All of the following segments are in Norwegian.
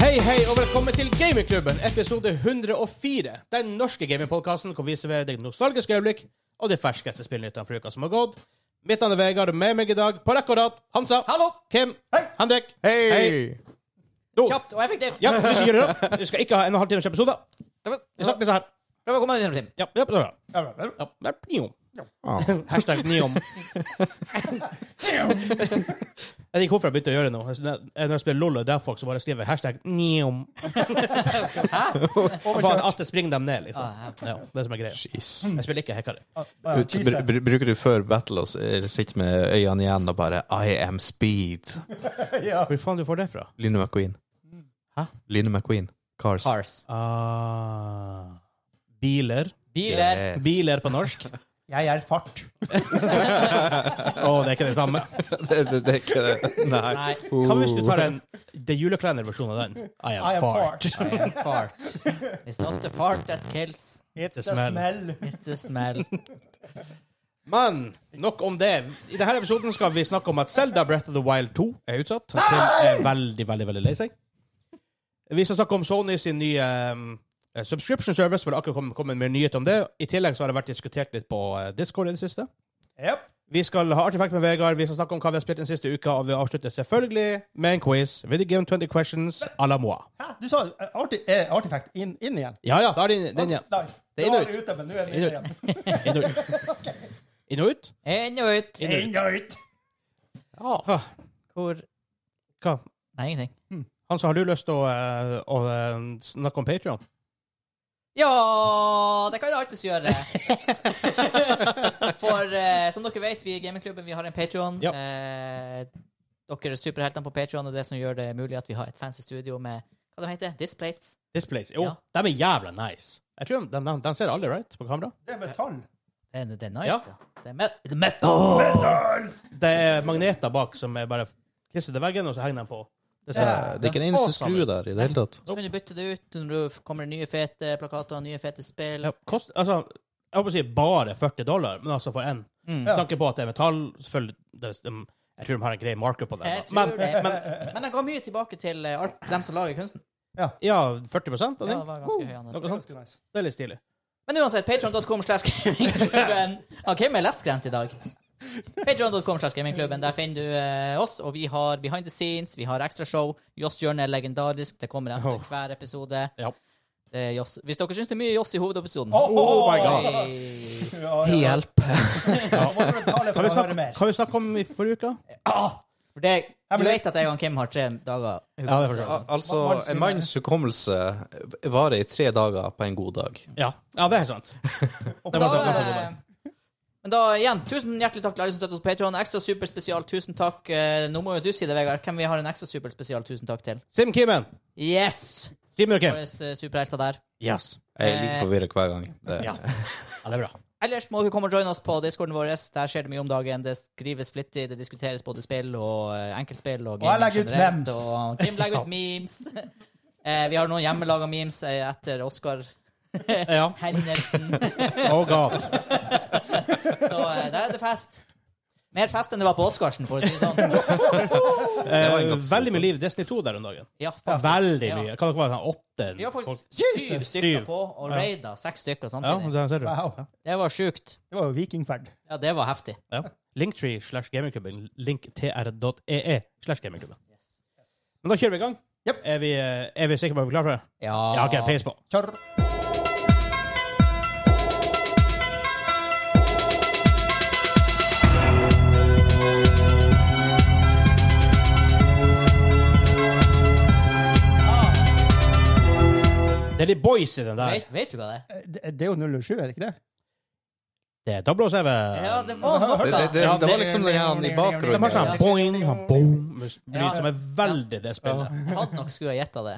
hei og velkommen til Gamingklubben, episode 104. Den norske gamingpodkasten hvor vi serverer deg nostalgiske øyeblikk og de ferskeste spillnyttene fra uka som har gått. Mitt navn er Vegard, og med meg i dag på rekke og rad Hansa, Hallo! Kim, Henrik Hei. Do. Kjapt og effektivt. Ja, vi skal gjøre det. Vi skal ikke ha en og en halv times episode. Vi Prøv snakker sånn her. å komme deg gjennom Ja, ja, ja, ja. ja, ja, pniom. Hashtag pniom. Jeg vet ikke hvorfor jeg begynte å gjøre det nå. Når jeg spiller LOL og Daft Punk, så bare skriver jeg hashtag pniom. Og bare At det springer dem ned, liksom. Ah, Ja, det er som er greia. Jeez. Jeg spiller ikke Hekkari. Ja, Ut- br br bruker du før battle å s- eh, sitte med øynene igjen og bare I am speed. ja. Hvor faen du får det fra? Line McQueen. Hæ? Line McQueen. Cars. Cars. Ah, biler. Biler. Yes. Biler på norsk. Å, Jeg er fart. det er ikke det samme. det, det, det er ikke det. Nei. Nei. Hva hvis du tar en The Julekleiner-versjon av den? I am, I am fart. fart. I am fart. It's not the fart that kills, It's Det the smell. smell. it's the smell. Men nok om det. I denne episoden skal vi snakke om at Zelda Breath of the Wild 2 er utsatt. Kim er veldig, veldig veldig lei seg. Vi skal snakke om Sony sin nye um, subscription service, for det har akkurat kommet kommet mer nyhet om det. I tillegg så har det vært diskutert litt på eh, Discord i det siste. Yep. Vi skal ha artefakt med Vegard, vi skal snakke om hva vi har spilt den siste uka, og vi avslutter selvfølgelig med en quiz. Video game 20 questions à la moi. Hæ? Du sa eh, arti eh, artifact inn, inn igjen. Ja ja, da er det den, ja. Nice. Det er Du inn var og ut. ute, men nå er den Inn og inn igjen. Inn og ut. Inn og ut? Inn og ut. Inn og ut. Inn og ut. Ja. Ah, Hvor Hva? Nei, ingenting. Hans, har du lyst til å, eh, å eh, snakke om Patreon? Ja, det kan jeg alltids gjøre. For eh, som dere vet, vi i Gamingklubben vi har en Patreon Ja. Eh, dere superheltene på Patreon er det som gjør det mulig at vi har et fancy studio med hva de heter Displates. Displays. Jo, Ja. de er jævla nice. Jeg tror de, de, de, de ser alle, right? På kamera. Det er metall. Det er, det er nice. Ja. Ja. Det er me- det er metal! Det er magneter bak som er bare klisser til veggen, og så henger de på. Det ser Ja, Det er ikke en eneste awesome skru ut. der i det hele tatt. Så kan du bytte det ut når du f- kommer nye fete plakater og nye fete spill. Ja, kost, altså, jeg håper å si bare 40 dollar, men altså for én. Mm. Med tanke på at det er metall, selvfølgelig det, de, Jeg tror de har en grei marker på det. Jeg da. Men, tror det. men Men den ga mye tilbake til eh, alt dem som lager kunsten. ja, 40 av Ja, den? det var ganske høy andel. Noe Det er sånt. ganske nice. Det er litt stilig. Men uansett, patreon.com slash gamingklubben. Han Kim er lettskremt i dag. Patreon.com slash gamingklubben. Der finner du eh, oss, og vi har behind the scenes, vi har ekstrashow. Joss Hjørne er legendarisk. Det kommer etter Oh. hver episode. Ja. Det er Joss. Hvis dere syns det er mye Joss i hovedepisoden Oh, Oh my god. Hey. Ja, ja. Hjelp! Ja, må du betale Kan for vi å høre snakke, mer. kan vi snakke om i forrige uke? Ah, for det, du men det- vet at jeg og han Kim har tre dager. Ja, det forstår jeg. Al altså, en manns hukommelse varer i tre dager på en god dag. Ja, ja det er helt sant. Og Det Da, var så- det var så god eh, men da igjen, tusen hjertelig takk til alle som støtter oss på Patreon. Ekstra superspesial, tusen takk. Eh, Nå må jo du si det, Vegard. Hvem vi har en ekstra superspesial, tusen takk til? Sim Kimen. Yes! Simen og Kim. Våre eh, superhelter der. Yes. Jeg er like forvirret hver gang. Det. Ja. ja, det er bra. Ellers må dere komme og joine oss på discorden vår. Der skjer det mye om dagen. Det skrives flittig, det diskuteres både spill og eh, enkeltspill og Og jeg legger ut generelt, memes. Og Kim legger ut memes. Eh, Vi har noen hjemmelaga memes eh, etter Oscar-hendelsen. Ja. Oh god. Så eh, der er det fest. Mer fest enn det var på Oscarsen, for å si det sånn. var en Eh, god veldig mye liv Destiny 2 der om dagen. Ja, faktisk. Veldig Ja. mye. Kan dere være sånn åtte Vi har faktisk folk? syv stykker Syv. på, og Ja. raida seks stykker Ja, samtidig. der ser du. Wow. Det var sjukt. Det var jo vikingferd. Ja, det var heftig. Ja. Linktree slash gamingklubben. Linktr.ee E slash gamingklubben. Men da kjører vi i gang. Jep. Er, vi, eh, er vi sikre på at vi er klare for det? Ja. Ja, OK, peis på. Kjør. Det er de boys i den der. Vet, vet du hva det er? Eh, Det, det er jo 007, er det ikke det? Det er 007. Ja, det var noe. Det, det, det, Ja, det var liksom den her i De har bakgrunnen. sånn boing, boom lyd Ja. som er veldig det spillet. Hadde nok skulle ha gjetta det.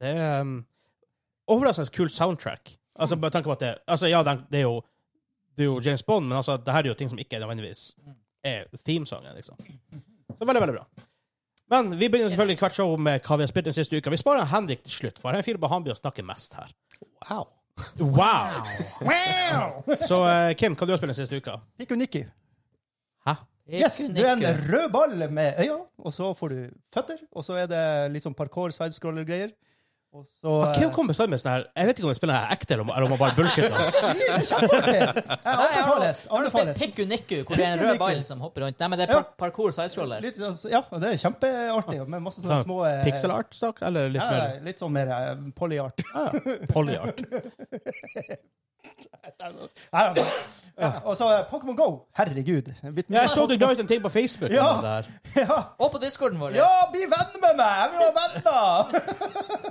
Det er um, overraskende kult soundtrack. Altså, bare tanke på at det Altså, ja, det det er jo Det er jo James Bond, men altså, det her er jo ting som ikke nødvendigvis er themesangen, liksom. Så veldig, veldig bra. Men vi begynner selvfølgelig hvert show med hva vi har spilt den siste uka. Vi sparer Henrik til slutt, for han fyren på han blir å snakke mest her. Wow. Wow! Wow! Så eh, Kim, hva du har spilt den siste uka? Pikk og Nikki. Hæ? Yes, du er en rød ball med øyne, og så får du føtter, og så er det litt sånn parkour, sidescroller-greier. Og så eh, Ah, Hvem kom bestandig med sånn her Jeg vet ikke om det spiller er ekte, eller om eller om han bare bullshit. Altså. Jeg anbefales. Har du spilt anbefales. Tikku Nikku, hvor det er en Tikku rød Nikku. ball som hopper rundt? Nei, men det er Ja. par parkour sidescroller. Litt, sånn- ja, og det er kjempeartig, med masse sånne Sånn små eh, Pixel art, stakk? Eller litt Ja, mer litt sånn mer eh, polyart. ah, ja. polyart? Ja, ja. Ja, og så eh, Pokémon Go. Herregud. Bytt Ja, jeg så du la ut en ting på Facebook. Ja. om det der. Ja, Og på discorden vår. ja, bli venn med meg! Jeg vil være venner!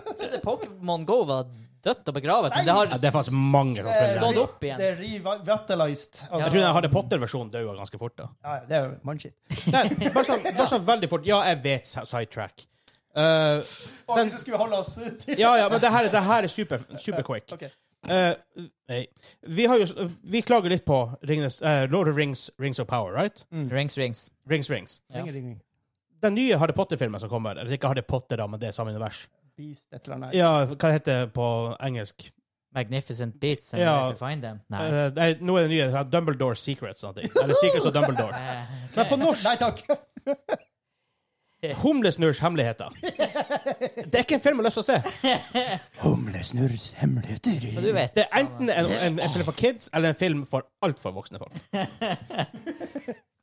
Jeg trodde Pokémon Go var dødt og begravet, men det Ja, har det er faktisk mange som Stått spiller det. opp igjen. Det er revitalized. Altså, Jeg tror den Harry Potter-versjonen døde ganske fort. da. ja, det er jo mannskitt. Nei, bare sånn, bare sånn veldig fort. Ja, jeg vet si- sidetrack. Eh, Og hvis vi skulle holde oss til ja, ja, men det her, det her er super, super quick. Ok. Eh, nei. Vi, har jo, vi klager litt på Ringenes, eh, Lord of Rings, Rings of Power, right? Rings, rings. Rings, Rings. Ja. Ring, ring, ring. Den nye Harry Potter-filmen som kommer, eller ikke Harry Potter, da, men det er samme univers. Beast, et eller annet. Ja, hva heter det på engelsk? Magnificent beats and Ja. where to find them. Nei. Eh, nei, nå er det nye det er Dumbledore Secrets. Sånn, eller Secrets of Dumbledore. Eh, Men på norsk Nei takk! Humlesnurrs hemmeligheter. Det er ikke en film jeg har lyst til å se. Humlesnurrs hemmeligheter. Men du vet. Det er enten en, en, en film for kids eller en film for altfor voksne folk.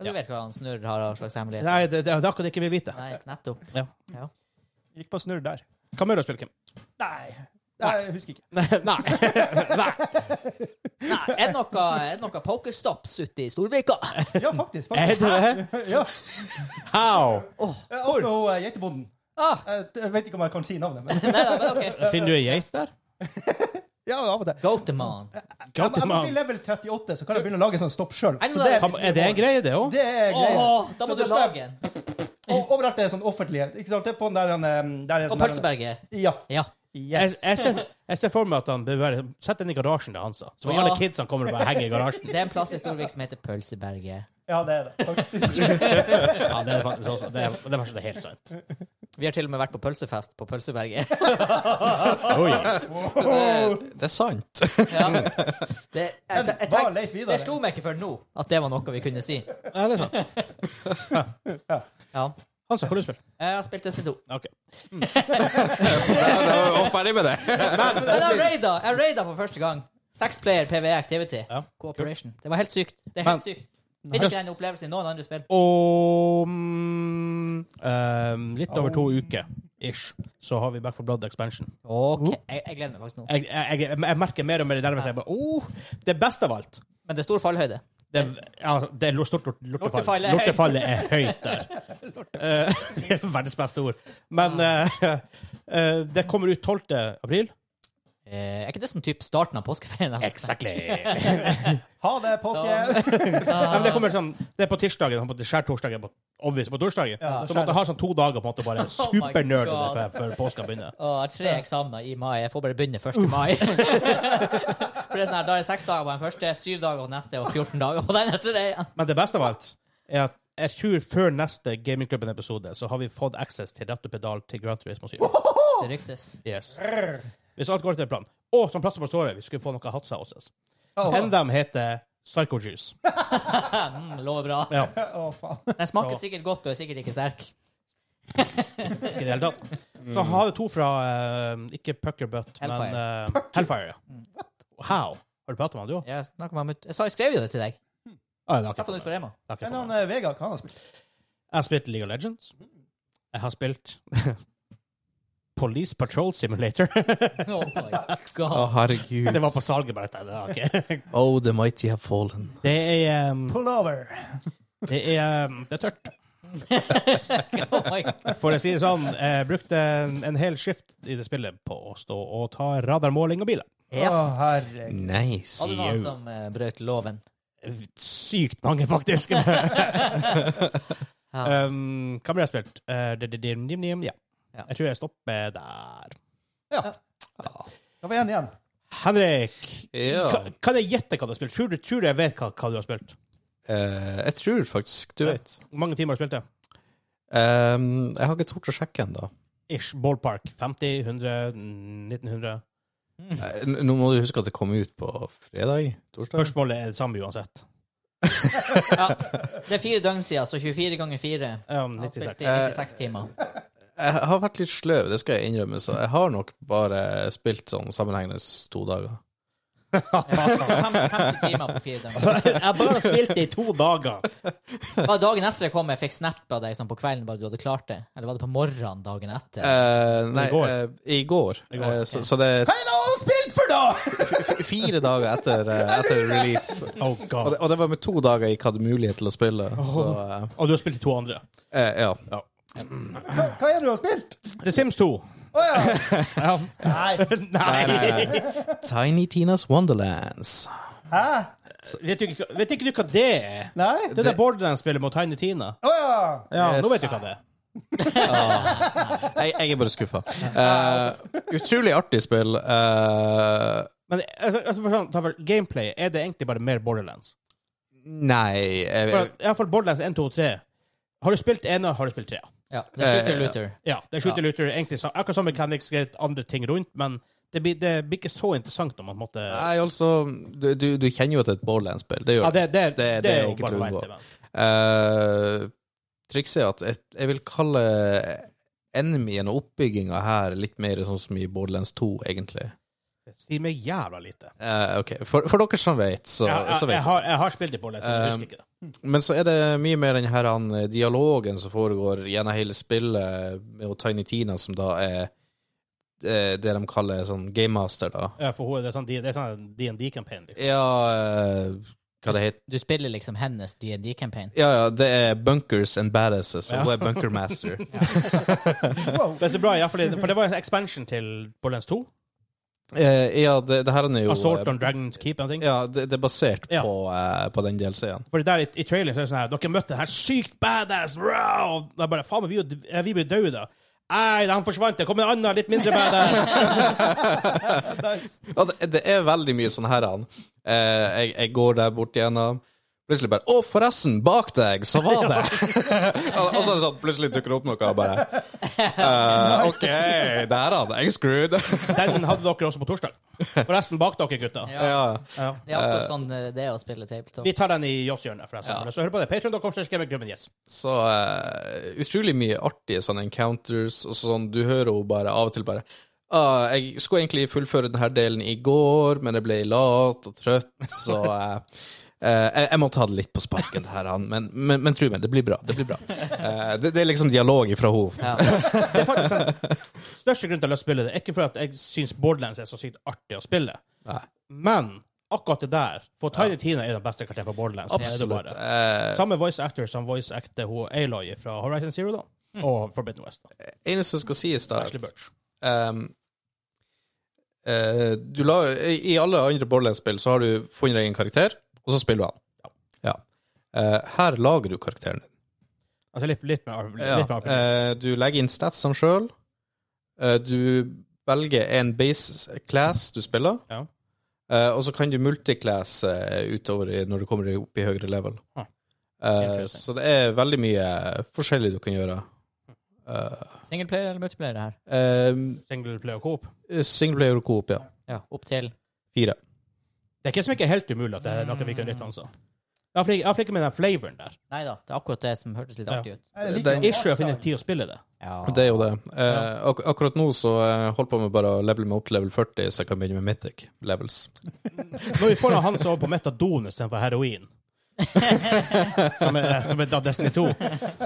Du vet hva han Snurr har av slags hemmelighet. Nei, det, det er akkurat det ikke vi vil vite. Nei, nettopp. Ja. Ja. Gikk på snurr der. Hva mer har du spilt, Kim? Nei. Nei, jeg husker ikke. Nei. Nei. Nei, er det noe, er det noe pokerstops ute i Storvika? Ja, faktisk. Er faktisk. det det? Ja. How? Eh, Og og, eh, geitebonden. Ah, Eh, Jeg vet ikke om jeg kan si navnet, men nei da, men OK. Finner du ei geit der? ja, av og til. Goatemon. Jeg må jeg må bli Gatemann. level 38, så kan jeg begynne å lage sånn stopp sjøl. Nei, det Kan- Er det en greie, det òg? Det er greia. Åh, da Så må du det står- lage en. Og overalt er det sånn offentlighet. Ikke sant? Det er på den der, den, der er Og sånn der- Pølseberget. Ja. Ja. Jeg, Yes. jeg, ser, jeg ser for meg at han bør være Sett den i garasjen til Hansa. Så Ja. alle kidsene kommer og bare henger i garasjen. Det er en plass i Storvik som heter Pølseberget. Ja, det er det. Faktisk. Ja, det er faktisk også, det er, det er faktisk helt sant. Vi har til og med vært på pølsefest på Pølseberget. Oi. Det, Det er sant. ja. det, jeg, jeg, Hva, tenk, Leif Vidar? det slo meg ikke før nå at det var noe vi kunne si. Ja, det er sant. Ja. Hansa, hva har du spilt? Jeg har spilt Destiny 2. Ok. Ja, da var vi ferdig med det. Men jeg raida, jeg raida for første gang. Seks player PVE Activity. Ja. Cooperation. Det var helt sykt. Det er helt Men- sykt. Finner ikke den opplevelsen i noen andre spill. Om ehm, litt over to uker ish, så har vi Back for Blood Expansion. Ok, jeg, jeg gleder meg faktisk nå. Jeg, jeg, jeg, jeg merker mer og mer det nærmer seg. Jeg bare, Oh, det beste av alt Men det er stor fallhøyde. det, ja, det er stort lort- lortefall. Lortefallet er høyt. Lortefallet er høyt der. Eh, det er verdens beste ord. Men eh, eh, det kommer ut 12. april. Eh, er ikke det sånn typ starten av påskeferien? da? Exactly. Ha det, påske! Nei, men det kommer sånn Det er på tirsdagen, sånn på skjærtorsdagen, på, obviously på torsdagen. Ja, så måtte jeg ha sånn to dager på en måte bare Oh my supernerd God. før, før påska begynner. Å, jeg har tre eksamener i mai. Jeg får bare begynne 1. mai. For det er sånn her, Da er det seks dager på den første, syv dager på den neste og 14 dager på den etter det igjen. Men det beste av alt er at jeg tror før neste Gamingklubben-episode så har vi fått access til rett og pedal til Grand Turismo 7. Det ryktes. Yes. Hvis alt går etter planen. Og som plassen på såret, vi skulle få noe hatsa hos oss. Å, En dem heter Psycho Juice. Mm, lover bra. Ja, å, faen. Den smaker sikkert godt og er sikkert ikke sterk. ikke i det hele tatt. Så har jeg to fra eh, Ikke Puckerbutt, men Hellfire. eh, Hellfire. ja. How? Har du pratet med han, du òg? Jeg, snakker med ham ut- jeg, sa, jeg skrev jo det til deg. Ah, det har Jeg ikke har fått ut jeg for Rema. Det har ikke jeg Men fått han med. eh, Vegard, hva han har spilt? Jeg har spilt League of Legends. Jeg har spilt Police Patrol Simulator. Oh my Å, god. herregud. Det var på salget, bare. tenkte jeg, ja, ok. Oh, the mighty have fallen. Det er um, Pull over. Det er, um, det er tørt. Oh my god. For å si det sånn, jeg brukte en, en hel skift i det spillet på å stå og ta radarmåling av biler. Ja. Å, herregud. Nice. Alle noen som eh, brøt loven. Sykt mange, faktisk. Ja. um, hva mer har jeg spilt? Eh, det- det- det- nim, nim, ja. Ja. Jeg tror jeg stopper der. Ja. Da var jeg en igjen. Henrik, Ja. ka- kan jeg gjette hva du har spilt? Tror du, tror du jeg vet hva, hva du har spilt? Eh, jeg tror faktisk du vet. Hvor mange timer har du spilt det? Ehm, jeg har ikke tort å sjekke ennå. Ish, ballpark. 50, 100, 1900? Eh, n- Nå må du huske at det kom ut på fredag? Torsdag? Spørsmålet er det samme uansett. Ja. Det er fire døgn siden, så 24 ganger 4 Um, Han spilte 96. i 96 timer. Jeg har vært litt sløv, det skal jeg innrømme, så jeg har nok bare spilt sånn sammenhengende to dager. Fem- 50 timer på fire timer. Jeg har bare spilt det i to dager. Var det dagen etter jeg kom, jeg fikk snap av deg sånn på kvelden bare du hadde klart det? Eller var det på morgenen dagen etter? Eh, nei, I går. eh, i går. I går, Eh, så, så det er Hva er det han har spilt for, da?! f- fire dager etter, eh, etter release. Oh Og god. det, og det var med to dager jeg ikke hadde mulighet til å spille, så eh, Og du har spilt de to andre. eh, ja. Hva, hva er det du har spilt? The Sims 2. Å ja. Ja. Nei. Nei, nei, nei. Tiny Tinas Wonderlands. Hæ? Vet, du ikke, vet ikke du hva det er? Nei? Det der Borderlands-spillet mot Tiny Tina. Å ja. Ja, Yes. Nå vet du hva det er. Ah. Jeg, jeg er bare skuffa. Eh, utrolig artig spill. Eh, Men altså, altså for sånn, ta for gameplay, er det egentlig bare mer Borderlands? nei jeg, For, at- ja, for Borderlands 1, 2, 3 Har du spilt ena, har du spilt trea. Ja, det er Shooter Eh, Looter. Ja, det er shooter looter, egentlig sa- akkurat samme mechanics, greit, andre ting rundt, men det blir, det blir ikke så interessant om man måtte Ja, Nei, altså Du, du, du kjenner jo at det er et Borderlands-spill. Det gjør det, det, det, det er er jo ikke bare til å å vente unngå. men. Eh, Trikset er at jeg, jeg vil kalle enemyen og oppbygginga her litt mer sånn som i Borderlands 2, egentlig. Det stimer jævla lite. Eh, ok, for, for dere som vet, så, jeg, jeg, så vet jeg, har, jeg har spilt i Borderlands, men jeg Um, husker ikke det. Men så er det mye mer den her han, eh, dialogen som foregår gjennom hele spillet med hun Tiny Tina, som da er eh, det de kaller sånn gamemaster, da. Ja, For hun, det er sånn det er sånn D&D-campaign, liksom. Ja, eh, hva det heter Du spiller liksom hennes DND-campaign. Ja, ja, det er Bunkers and Badasses, og hun er Bunkermaster. Men det er bra, ja, for, det, for det var en expansion til Borderlands 2. Eh, ja, det, det her er jo Assault on eh, Dragon's Keep og ting. Ja, det, det er basert Ja. på, eh, på den DLC-en. For det der i, i traileren så er det sånn her Dere møtte den her sykt badass wow! Og Da bare Faen, men vi, er jo- eh, vi blir døde, da. Nei, han forsvant. Det kom en annen, litt mindre badass. Nice. Og det, det er veldig mye sånn her han. Eh, jeg, jeg går der bort igjennom. Plutselig bare 'Å, forresten, bak deg, så var det!' og, og så er det sånn, plutselig dukker det opp noe, og bare eh, 'OK, der hadde jeg screwed'. Den hadde dere også på torsdag. Forresten, bak dere, gutter. Ja. ja. Ja. Det er akkurat sånn eh, det er å spille tabletop. Vi tar den i Joss-hjørnet, forresten. Så hør på det. Patreon.com slash gamingklubben, yes. Så eh, utrolig mye artige sånne encounters, og sånn, du hører henne bare av og til bare «Ah, jeg skulle egentlig fullføre denne delen i går, men jeg ble lat og trøtt, så eh, eh, jeg, jeg må ta det litt på sparken, det her, han. Men, men, men tro meg, det blir bra. Det blir bra. Eh, det, det er liksom dialog ifra henne. Ja. Det er faktisk den største grunnen til å spille det. Ikke fordi jeg syns Borderlands er så sykt artig å spille, Nei. men akkurat det der For Tiny Tina er den beste karakteren for Borderlands. det er det Absolutt. bare. Eh, Samme voice actor som voice actor hun Aloy fra Horizon Zero, da. Og Forbidden West. da. eneste som skal sies, da Ashley Birch. ehm, eh, du la, I i alle andre Borderlands-spill så har du funnet deg en karakter, og så spiller du han. Ja. Eh, her lager du karakteren. Altså litt, litt mer, litt Ja, mer RPG. eh, du legger inn statsene sjøl. Eh, du velger en base class du spiller, Ja. Eh, og så kan du multiclass eh, utover i, når du kommer opp i høyere level. Ah. Eh, Interesting. så det er veldig mye forskjellig du kan gjøre. Uh, Singleplayer eller multiplayer det her? Single player coop. eh, Singleplayer og coop, ja. Ja, opp til Fire. Det er ikke som ikke er helt umulig at det er noe vi kan lytte altså. Jeg har flik- jeg har flikket med den flavoren der. Nei da, det er akkurat det som hørtes litt Ja. artig ut. Jeg liker Den- jo Ikke å finne artstyle. tid å spille det. Ja. Det er jo det. Eh, ak akkurat nå så eh, holder på med bare å levele meg opp til level 40, så jeg kan begynne med Mythic levels. Når vi får han Hans over på metadon istedenfor heroin, som er, som er da Destiny 2,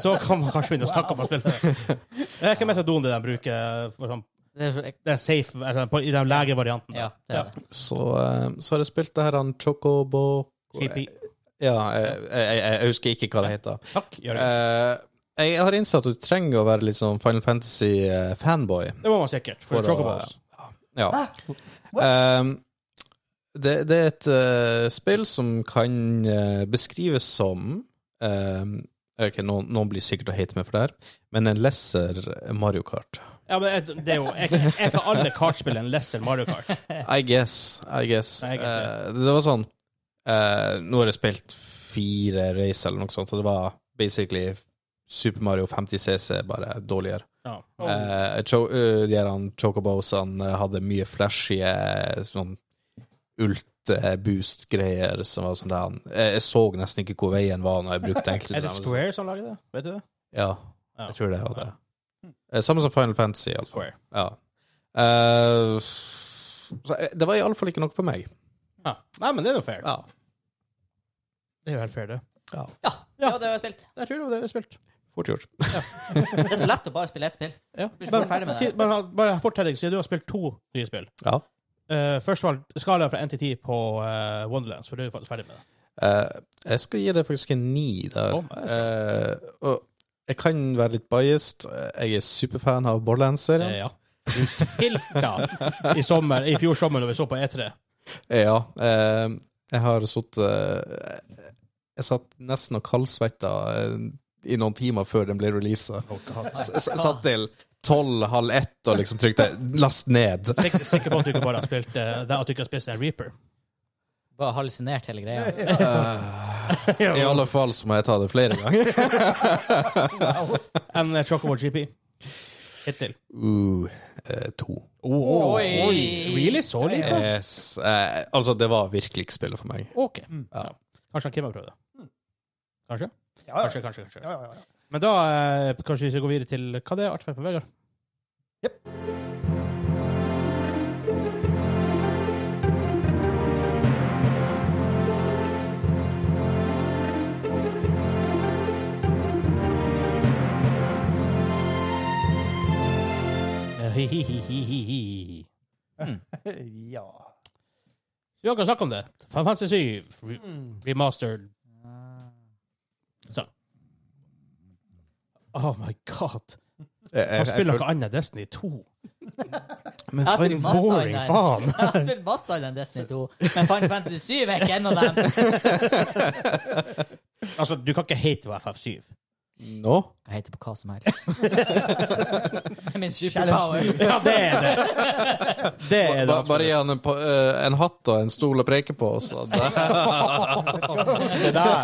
så kan man kanskje begynne å snakke om å spille det. Det er ikke metadon det de bruker. For sånn, Det er så, det er safe altså, på, i den legevarianten. ja, det er det. Så, eh, så har jeg spilt det her han Chocobo Cheapy. Ja, jeg, jeg, jeg, jeg husker ikke hva det heter. Takk, Jørgen. Eh, jeg har innsett at du trenger å være litt sånn Final Fantasy-fanboy. Det må man sikkert. For, For å- Chocobos. Ja. Ehm, det, det er et eh, spill som kan eh, beskrives som ehm, Ok, noen, noen blir sikkert å hate meg for det her, men en lesser Mario Kart. Ja, men jeg- det er jo Jeg jeg kan alle kartspill enn Lesser Mario Kart. I guess. I guess. Nei, jeg guess det. Eh, det var sånn eh, Nå har jeg spilt fire race eller noe sånt, og det var basically Super Mario 50 CC, bare dårligere. Ja. Eh, cho eh, de her han chocobosene eh, hadde mye flashy eh, sånn ult-boost-greier som var sånn der han eh, Jeg så nesten ikke hvor veien var når jeg brukte enkelte Er det av dem. Square som lager det? Vet du det? Ja. Ja, Hmm. jeg tror det var det. Eh, Samme som Final Fantasy. i alle fall. Ja. Eh, s- så eh, det var iallfall ikke noe for meg. Ja. Nei, men det er jo fair. Ja. Det er jo helt fair, det. Ja, det var det jeg har spilt. Jeg tror det var det vi spilte. Fort gjort. Det er så lett å bare spille ett spill. Ja. Vi Men, får ferdig med det. si- men bare fort, Henrik, siden du har spilt to nye spill. Ja. Eh, først var skala fra 1 til 10 på eh, Wonderlands, for du er jo faktisk ferdig med det. Eh, jeg skal gi det faktisk en ni der. Å, det Eh, og jeg kan være litt biased. Eh, Jeg er superfan av Borderlands-serien. Eh, ja. Du tilta i sommer, i fjor sommer, når vi så på E E3. Ja. eh, jeg har sittet Jeg satt nesten og kaldsvetta eh, i noen timer før den ble releasa. Satt til tolv, halv ett og liksom trykte 'last ned'. Sikker, sikker på at du ikke bare har spilt eh, det, at du ikke har spist en Reaper. Bare hallusinert hele greia. Ja. I alle fall så må jeg ta det flere ganger. En uh, Chocobo GP. Hittil. Uh, eh, to. Oi. Really? Så lite? Yes. Eh, altså, det var virkelig ikke spillet for meg. Eh, OK. mm. Ja. Ja. Kanskje han Kim har prøvd det. Kanskje? Ja, ja, Kanskje, kanskje, kanskje. ja, ja, ja. Men da eh, kanskje vi skal gå videre til Hva det er artig på Vegard? Hi-hi-hi-hi-hi. ja. Så vi har akkurat snakket om det. Final Fantasy 7 re remastered. Så. Oh my god. Jeg, Eh, jeg, Han spiller følte- noe annet enn Destiny 2. Men Jeg har Final spilt masse Boring, av den. faen. Jeg har spilt masse av den Destiny 2, men Final Fantasy 7 er ikke en av dem. Altså, du kan ikke hate på FF7. Nå? Jeg heter på hva som helst. Det er Min superpower. Ja, det er det. Det er det. Ba, bare gi han en, pa- eh, en hatt og en stol å preke på, så det, absolutt. Det der.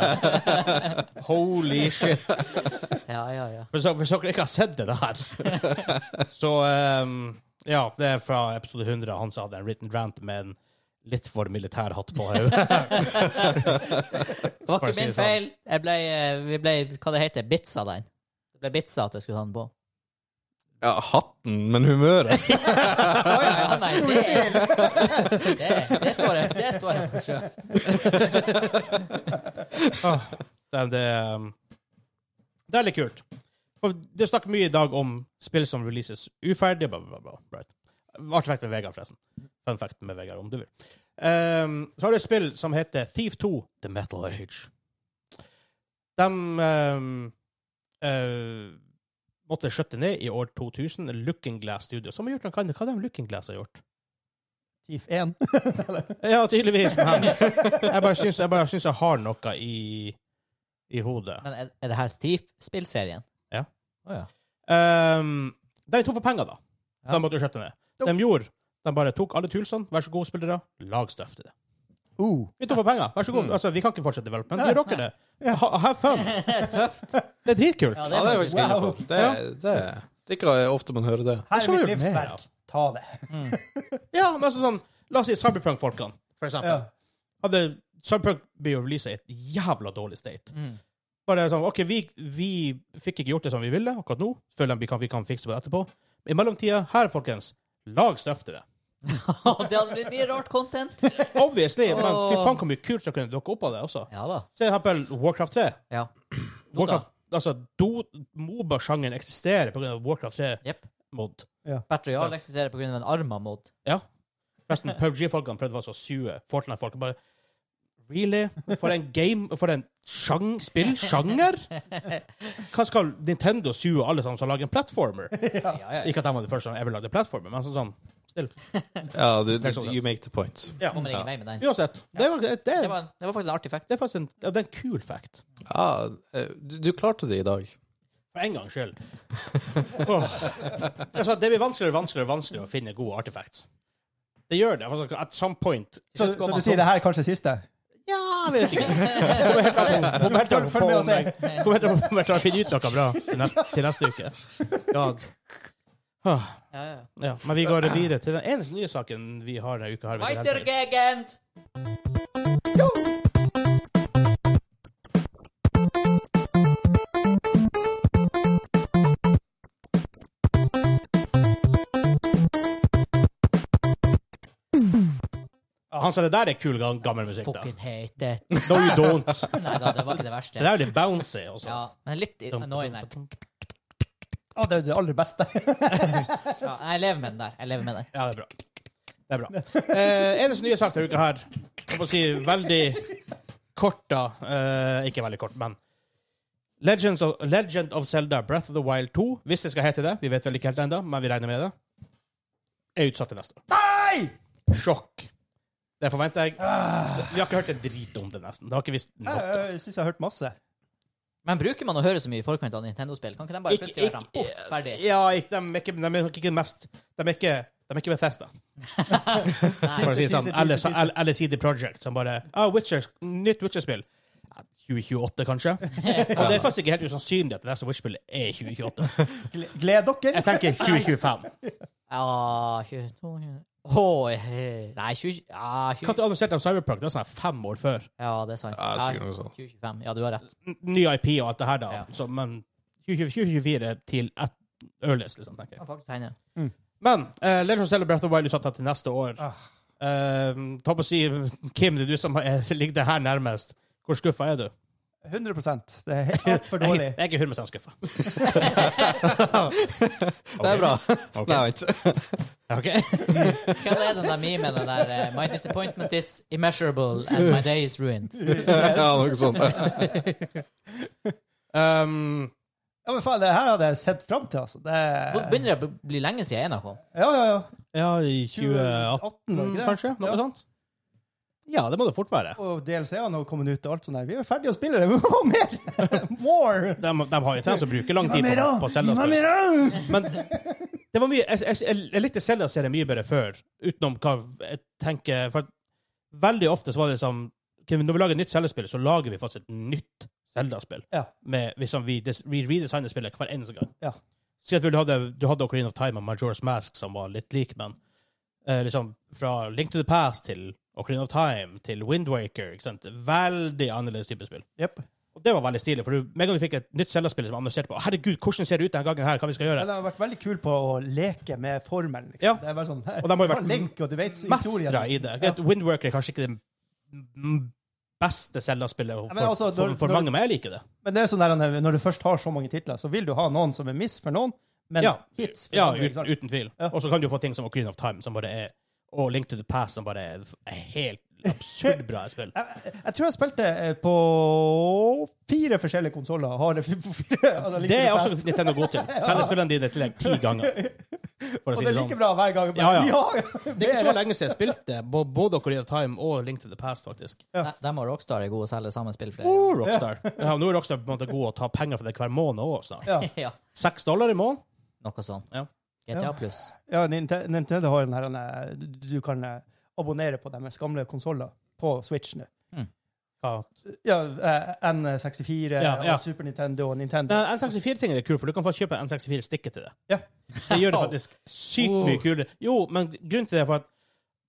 Holy shit. Ja, ja, ja. For så- for dere ikke har sett det der. Så ehm, Ja, det er fra episode 100. Han sa hadde en written rant med en litt for militær hatt på hodet. Det var For å si ikke min det sånn. feil. Jeg ble, eh, vi ble hva det heter, bitsa den. Det ble bitsa at jeg skulle ha den på. ja, hatten, men humøret. Å ja, ja, nei, det, det, det står jeg det står jeg for selv. Åh, Det, det, um, det er litt kult. For det snakker mye i dag om spill som releases uferdig. Bla, bla, bla, bla. right. Artefakt med Vegard, forresten. Fun fact med Vegard, om du vil. Um, så har du et spill som heter Thief 2 The Metal Age. De um, eh, måtte skjøtte ned i år 2000. Looking Glass Studio. Som har gjort noe annet. Hva er det Looking Glass har gjort? Thief 1. Ja, tydeligvis. Men jeg bare syns jeg, bare syns jeg har noe i, i hodet. Men er, er det her Thief-spillserien? Ja. Å ja. Um, de tok for penger, da. Ja. De måtte skjøtte ned. De gjorde De bare tok alle toolsene. Vær så god, spillere. Lag stuff til det. Uh. Vi tok for penger. Vær så god. Mm. Altså, vi kan ikke fortsette development. Gjør dere det? Ha, have fun. Tøft. Det er dritkult. Ja, Ja, det er faktisk Wow. inne på. Det, det, det er ikke ofte man hører det. Her Så er er mitt det livsverk. Ta det. Ja, men altså sånn La oss si Cyberpunk-folkene, for eksempel. Ja. Hadde Cyberpunk blitt releasa i et jævla dårlig state Mm. Bare sånn OK, vi, vi fikk ikke gjort det som vi ville akkurat nå. Føler vi kan, vi kan fikse på det etterpå. I mellomtida, her, folkens, lag stuff til det. Å, det hadde blitt mye rart content. Obviously. Men Åh. fy faen, hvor mye kult som kunne dukke opp av det også. Ja da. Se for eksempel Warcraft 3. Ja. Jo da. Warcraft, altså, do- Moba-sjangeren eksisterer pga. Warcraft 3-mod. Jep. mod Battery All eksisterer pga. en Arma-mod. Ja. Forresten, PUBG-folkene prøvde altså å sue Fortnite-folk. Bare Really? For en game For en sjang, spill-sjanger? Hva skal Nintendo sue alle sammen som lager en platformer? Ja, ja, ja. Ikke at de var de første som ever lagde platformer, men sånn sånn still. Ja, du, du, you make the point. Ja. Kommer ingen vei med den. Uansett. Det, var, det, Det det, var, det var faktisk en artig fact. er faktisk en, ja, det er en kul fact. Ja, eh, du, du klarte det i dag. For en gangs skyld. Åh. altså, det blir vanskeligere og vanskeligere, og vanskeligere å finne gode artefacts. Det gjør det. Altså, at some point Så, så du sier det her er kanskje siste? Ja, jeg vet ikke. Kommer helt an på- kommer helt an på Følg med og om jeg- kommer helt an på om jeg klarer å finne ut noe bra til neste, til neste uke. God. Åh, Ja, ja. Ja, men vi går videre til den eneste nye saken vi har denne uka. her. ved det her feilet. Weitergegend! Han sa det der er kul gam- gammel musikk, da. Fucking hate it. No, you don't. Nei da, det var ikke det Det verste. der er litt bouncy også. Ja, men litt annoying der. Å, det er jo det aller beste. Ja, jeg lever med den der. Jeg lever med den. Ja, det er bra. Det er bra. Eh, eneste nye sak denne uka her, jeg må si veldig kort, da. Eh, ikke veldig kort, men Legends of, Legend of Zelda Breath of the Wild 2, hvis det skal hete det, vi vet vel ikke helt ennå, men vi regner med det, er utsatt til neste år. Nei! Sjokk. Det forventer jeg. Vi har ikke hørt en drit om det, nesten. Det har ikke visst noe. Jeg, jeg syns jeg har hørt masse. Men bruker man å høre så mye i forkant av Nintendo-spill? Kan ikke de bare Ikke- plutselig ikke- være sånn, poff, ferdig? Ja, ikke, de, er ikke, de er nok ikke den mest De er ikke, de er ikke Bethesda. For å si det sånn. Teaser, teaser, Eller, teaser, teaser. eller, eller CD Projekt, som bare ah, Witcher, Nytt Witcher-spill. Ja, 2028, kanskje? Og det er faktisk ikke helt usannsynlig at det neste Witcher-spillet er 2028. Gle- Gled dere. Jeg tenker 2025. Ja, 22 Åh, eh, Nei, 20 Ja, 20, Når annonserte de Cyberpunk? Det var sånn fem år før. ja det er sant. Ja, det er sikkert noe sånt. 2025. Ja, du har rett. N- Ny IP og alt det her, da. Ja. Så, men 2020 2024 til et earliest, liksom, tenker jeg. Kan faktisk hende. Men uh, Legend of Zelda Breath of the Wild er satt av til neste år. Ah. Eh, ta på å si, Kim, det er du som er- ligger det her nærmest. Hvor skuffa er du? 100 Det er altfor Jeg, dårlig. jeg er ikke 100 skuffa. Det er bra. Ok. Nei, vent. Ok? Hva er det den der memen, den der eh, My disappointment is immeasurable and my day is ruined. Ja, noe sånt. Um, Ja, men faen, det her hadde jeg sett fram til, altså. Det Nå Eh. begynner det å bli lenge siden NRK. Ja, ja, ja. ja, i 2018, 2018, var det ikke det? Mm, kanskje? Noe Ja. sånt? Ja, det må det fort være. Og DLC-ene har kommet ut og alt sånt der. Vi er jo ferdige å spille det, vi må ha mer! More! De, de har jo tendens til å bruke lang tid Gi meg mer, på, da! på Gi meg Zelda-spill. mer, da! Men det var mye Jeg, jeg, jeg, jeg likte Zelda-serien mye bedre før, utenom hva jeg tenker For at veldig ofte så var det liksom ok, Når vi lager et nytt Zelda-spill, så lager vi faktisk et nytt Zelda-spill. Ja. Med- Liksom, vi, des- vi redesigner spillet hver eneste gang. Ja. Si at du hadde, du hadde Ocarina of Time og Majora's Mask som var litt lik, men eh, liksom fra Link to the Past til Ocarina of Time til Windwaker Veldig annerledes type spill. Jepp. Og det var veldig stilig, for du, med en gang du fikk et nytt Zelda-spill som annonserte på Herregud, hvordan ser det ut denne gangen her? Hva vi skal Ja, gjøre? det har vært veldig kult på å leke med formelen. Liksom. Ja. Det er bare sånn, Og de har jo vært Link, og du vet historien. mestra i det. Greit, Windworker er kanskje ikke det m- beste Zelda-spillet men for, altså, for, når- for når- mange, men jeg liker det. Men det er sånn der, når du først har så mange titler, så vil du ha noen som er miss for noen, men Ja. hits for Ja, andre. ikke uten, sant? uten tvil. Ja. Og så kan du jo få ting som Ocarina of Time, som bare er og Link to the Past, som bare er f- er helt absurd bra spill. Jeg, jeg- jeg tror jeg spilte eh, på fire forskjellige konsoller. Har det, på fire, altså, like Det er best. også Nintendo god til. Selger spillene dine i tillegg ti ganger. For å Og si det det er sånn. like bra hver gang. Ja, ja. Det er ikke så mer. lenge siden jeg spilte bo- både Ocarina of Time og Link to the Past, faktisk. Ja. De- De og Rockstar er gode og selger sammen spill flere Og Rockstar. Ja, og nå er Rockstar på en måte god å ta penger for det hver måned også snart. ganger. Ja. Ja, Seks dollar i måneden? noe sånt. Ja. GTA pluss. ja, Ninte- Nintendo har den her eh, du- Du kan eh, abonnere på deres gamle konsoller på Switch nå. Ja, Ja, eh, N64 Ja, ja. og Super Nintendo og Nintendo. Nei, N64-tingen er kul, for du kan få kjøpe N64-stikket til det. Ja. Det gjør det faktisk sykt mye kulere. Jo, men grunnen til det er for at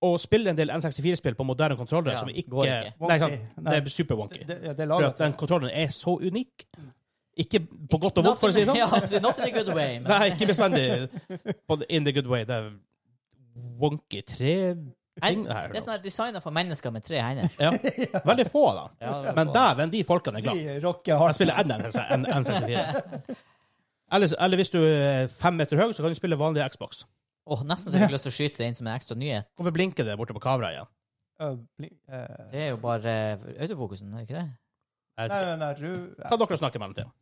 å spille en del N64-spill på moderne kontrollere Ja, som ikke, går ikke. Nei, kan, Wonky. det Nei. er super wonky. Det, ja, det er For laget. at den kontrollen er så unik. Ikke på godt og vondt, for å si det sånn. Ja, absolutt. not in a good way. Men Nei, ikke bestandig på the- in the good way. Det er wonky tre-ting Nei, her. det er sånn her designet for mennesker med tre hender. Ja. Veldig få, da. Ja, Men dæven, de folkene er glad. De rocker Jeg hardt. spiller N64. Eller, eller hvis du er fem meter høy, så kan du spille vanlig Xbox. Åh, nesten så jeg fikk lyst til å skyte det inn som en ekstra nyhet. Hvorfor blinker det borte på kameraet igjen? Øh, bli- eh, Det er jo bare eh, autofokusen, er det ikke det? Jeg Nei, vet ikke. nei, nei, ru- ja. Kan dere snakke i mellomtiden?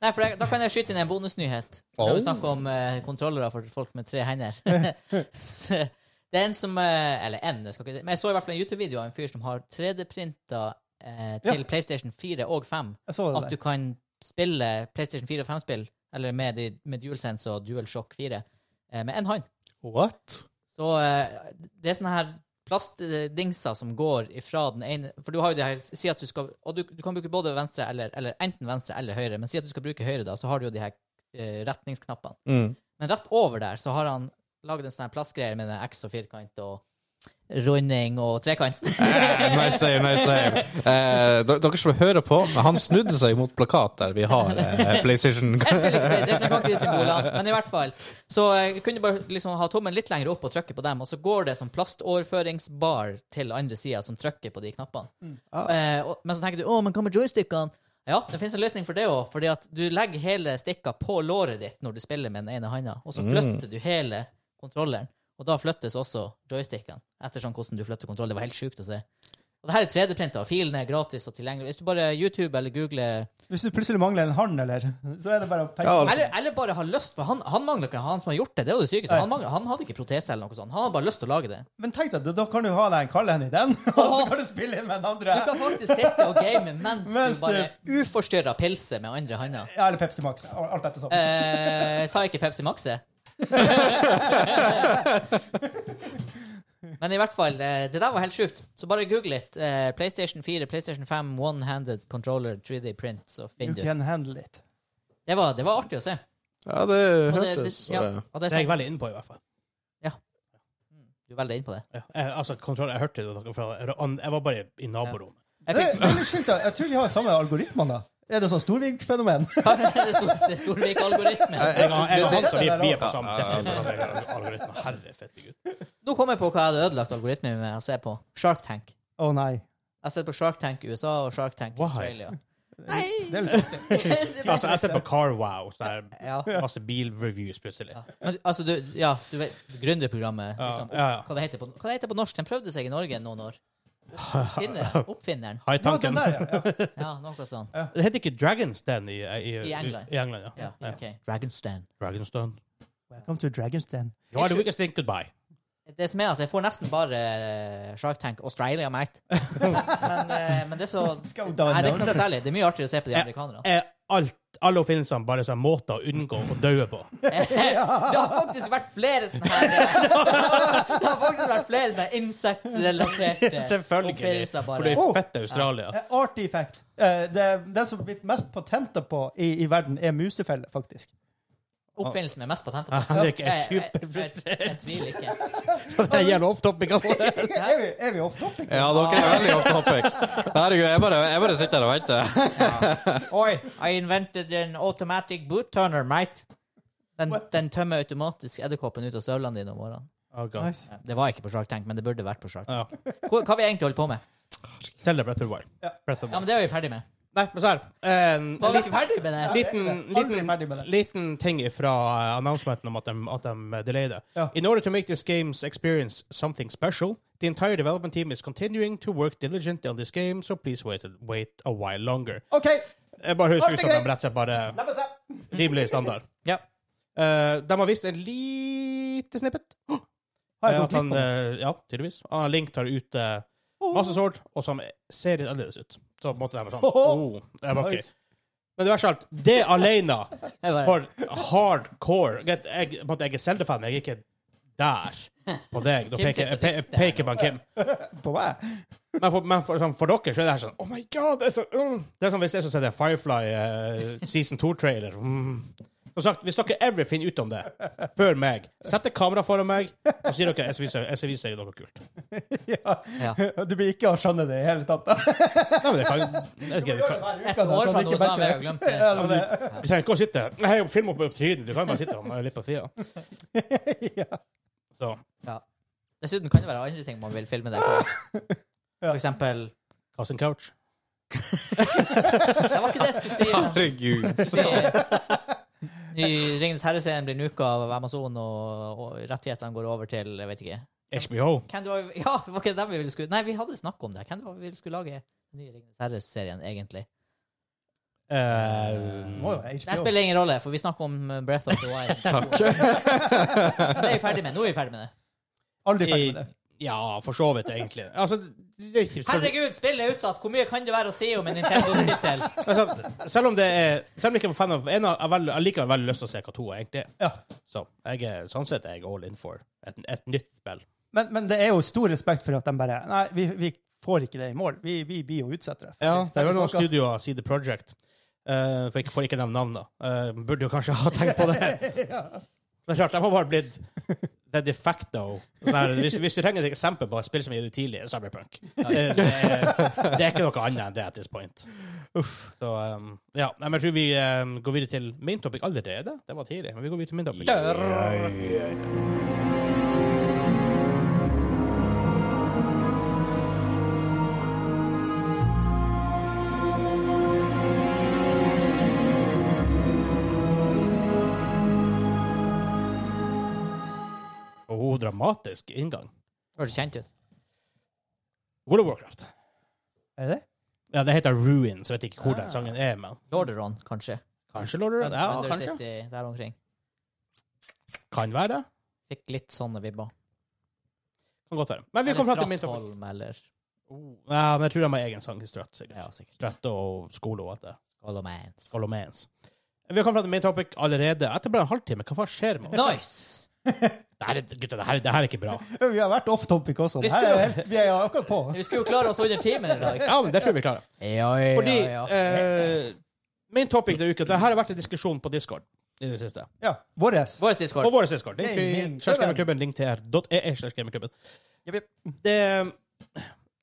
Nei, for jeg, da kan jeg skyte inn en bonusnyhet. Når Oh. vi snakker om eh, kontrollere for folk med tre hender. Så, det er en som eh, Eller en, jeg skal ikke Men jeg så i hvert fall en YouTube-video av en fyr som har 3D-printa eh, til Ja. PlayStation 4 og 5. Jeg så det At du der. kan spille PlayStation 4 og 5-spill, eller med, de, med DualSense og DualShock 4, eh, med én hånd. What? Så eh, det er sånne her plastdingser som går ifra den ene For du har jo det her Si at du skal Og du, du kan bruke både venstre eller, eller enten venstre eller høyre, men si at du skal bruke høyre, da, så har du jo de her eh, retningsknappene. Mm. Men rett over der så har han lagd en sånn her plastgreie med en X og firkant og runding og trekant. Eh, Nice save, nice save. Eh, d- dere som hører på, han snudde seg mot plakat der vi har eh, PlayStation. Jeg spiller ikke PlayStation, jeg kan ikke de symbolene. Men i hvert fall. Så jeg kunne bare liksom ha tommelen litt lenger opp og trykke på dem, og så går det som plastoverføringsbar til andre sida som trykker på de knappene. Eh, og, men så tenker du 'Å, men hva med joystickene?' Ja, det finnes en løsning for det òg, fordi at du legger hele stikka på låret ditt når du spiller med den ene handa, og så flytter du hele kontrolleren. Og da flyttes også joystickene, ettersom hvordan du flytter kontroll. Det var helt sjukt å se. Og det her er 3D-printa, og filen er gratis og tilgjengelig. Hvis du bare YouTube eller googler Hvis du plutselig mangler en hånd, eller, så er det bare å peke. Ja, altså- eller, eller bare ha lyst, for han, han mangler ikke han som har gjort det. Det er jo det sykeste. Nei. Han, mangler, han hadde ikke protese eller noe sånt. Han hadde bare lyst til å lage det. Men tenk deg, da- da kan du ha deg en Karl-Hen i den, og så kan du spille inn med den Du andre. kan faktisk sitte og game mens, Mens du bare uforstyrra pilser med andre handa. Ja, eller Pepsi Max. Alt etter sånn. Eh, sa jeg ikke Pepsi Max det? Men i hvert fall, eh, det der var helt sjukt. Så bare google litt. Eh, PlayStation 4, PlayStation 5, one-handed controller, 3D print, så You finner du. can handle it. Det var, det var artig å se. Ja, det Og det, det, hørtes ja, eh, og det Det er er jeg sånn, veldig inne på, i hvert fall. du er veldig inne på det. Ja. Jeg, altså, kontroll, jeg hørte det dere fra Jeg var bare i naborommet. Jeg Det, fikk det er litt sjukt, Eh, da. Jeg tror vi har samme algoritmen, da. Er det sånn Storvik-fenomen? Hva er det stor- det er Storvik-algoritmen. Jeg og jeg og det- han som vi, vi er på Ja, samme ja, ja. definitivt på samme algoritme. Herre fette gud. Nå kom jeg på hva jeg hadde ødelagt algoritmen min med å se på. Shark Tank. Å nei. Jeg har sett på Shark Tank USA og Shark Tank Why? Australia. Det er litt Altså, jeg ser på CarWow, så det Ja. er masse bilreviews plutselig. Ja. Men, altså, du, ja, du vet, gründerprogrammet, Ja, liksom. ja, ja. Hva det heter på, hva det heter på norsk? Den prøvde seg i Norge noen år. Oppfinner, oppfinneren. Har jeg Ja, tanken? den der, ja. ja. Ja, noe sånt. Det heter ikke Dragons Den i, i, I England. I England ja. Ja, ja. ok. Dragonstein. Dragons Den. Welcome to Dragon's Den. You are the weakest thing, goodbye. Det som er at jeg får nesten bare eh, Shark Tank Australia, mate. men, eh, men det er så Skal Nei, vi det downloade er ikke noe særlig. Det er mye artigere å se på de Ja. amerikanerne. Er alt, alle oppfinnelsene bare sånn måter å unngå å dø på? Det har faktisk vært flere sånne her eh, Det har faktisk vært flere sånne insektrelaterte Selvfølgelig. oppfinnelser For det bare. er fette Australia. Eh, Artifact. Eh, det, den som har blitt mest patenter på i, i verden, er musefelle, faktisk. Oppfinnelsen med mest patenter Ja, på. det er ikke- jeg er Jeg- jeg- superfrustrert. Jeg jeg tviler ikke. Det er jævla off topic. altså. Er vi, er vi off topic? Ja, dere er veldig off topic. Herregud, jeg bare, jeg bare sitter her og venter. Oi, I invented an automatic boot turner, mate. Den, den tømmer automatisk edderkoppen ut av støvlene dine om morgenen. Oh, God. Nice. Ja, Det var ikke på Shark Tank, men det burde vært på Shark Tank. Ja. Hva, hva vi egentlig holder på med? Selda Breath of the Wild. Ja. Breath of the Ja, men Wild. det er vi ferdig med. Nei, men så her. eh, Var vi ikke ferdig med det? liten, Aldri ferdig med liten, det. liten ting fra uh, announcementen om at de, at de uh, delayed det. Ja. In order to make this game's experience something special, the entire development team is continuing to work diligently on this game, so please wait, wait a while longer. OK! Jeg bare høres Alt er ut som de greit. rett og slett bare La meg se. rimelig standard. Ja. Eh, de har vist en lite snippet. Har Eh, jeg at fått klipp han, på den? eh, ja, tydeligvis. Ah, Link tar ut eh, masse sword, og som ser litt annerledes ut. Så måtte de være sånn. Oho. Oh, det var Nice. ikke. Men det verste av alt, det alene Jeg bare, for hardcore Jeg, jeg, på en måte, jeg er Zelda-fan, men jeg er ikke der på deg. Da peker Kim sitter jeg og pe- rister peker på han Kim. På meg? Men, for, men for, sånn, for dere så er det her sånn Oh my god! Det er, så, mm. det er sånn hvis jeg så ser det Firefly eh, season 2-trailer mm. Som sagt, hvis dere ever finner ut om det før meg, sett et kamera foran meg, og sier dere jeg skal vise- jeg skal vise dere noe kult. Ja. ja. Du blir ikke å skjønne det i hele tatt. da. Nei, men det kan, jeg vet ikke, det kan, Et år fra nå, så har jeg glemt det. Ja, men det. Vi trenger ikke å sitte Nei, film opp på trynet. Du kan bare sitte og litt på sida. Så Ja. Dessuten kan det være andre ting man vil filme det på. For eksempel Cast and Couch. Det var ikke det jeg skulle si. men Herregud. jeg skulle si- Ny Ringenes herre-serien blir nuka av Amazon, og, og rettighetene går over til Jeg vet ikke. HBO. Hvem det var, ja, det var ikke dem vi ville skulle Nei, vi hadde snakk om det. Hvem det var vi ville skulle lage den nye Ringenes herre-serien, egentlig? Eh, Må jo Det HBO. spiller ingen rolle, for vi snakker om eh, Breath of the Wild. Men Takk. Det er vi ferdig med. Nå er vi ferdig med det. Aldri ferdig med det. ja, for så vidt, egentlig. Altså, det, er- Herregud, spillet er utsatt! Hvor mye kan det være å si om en Nintendo-tittel? altså, selv om det er Selv om jeg ikke er fan av en, har jeg vel- jeg likevel veldig lyst til å se hva to er, egentlig. Ja. Så jeg er sånn sett er jeg all in for et, et nytt spill. Men, men det er jo stor respekt for at de bare Nei, vi, vi får ikke det i mål. Vi, vi blir jo utsatt. for det. Ja, det er vel noen Snakka. studioer, CD Project eh, For jeg får ikke nevne navnene. Eh, burde jo kanskje ha tenkt på det. Det er klart, de har bare blitt det er de facto sånn her, hvis, hvis du trenger et eksempel på et spill som er gitt ut tidlig, så er det Cyberpunk. Det, det, det er ikke noe annet enn det at this point. Så um, ja. Nei, men jeg tror vi um, går videre til main topic allerede. Det var tidlig, men vi går videre til main topic. Oh, dramatisk inngang. Høres kjent ut. World of Warcraft. Er det det? Ja, det heter Ruin, så jeg vet ikke hvor den Ah. sangen er, men Lorderon, kanskje. kanskje Lord of the Rings? Ja, Under kanskje. City, der omkring. Kan være. Fikk litt sånne vibber. Kan godt være. Men vi kom fram til main topic. Strattholm, eller Oh, Ja, men jeg tror de har egen sang i Stratt, sikkert. Ja, sikkert. Stratt og skole og alt det. Colomans. Colomans. Vi har kommet fram til main topic allerede. Etter bare en halvtime, hva faen skjer med oss? Nice! Det her, er- gutter, det her, det her er ikke bra. Vi har vært off topic også. Vi Det her er skulle- helt, vi er akkurat på. Vi skulle jo klare oss under timen i dag. Ja, men det tror jeg vi klarer. Ja, ja, Fordi eh, main topic denne uka, det her har vært en diskusjon på Discord i det siste. Ja. Våres. Vår Discord. På vår Discord. Link Hey, min til slags gamerklubben, link til r.ee slags gamerklubben. Jepp, jepp. E, Det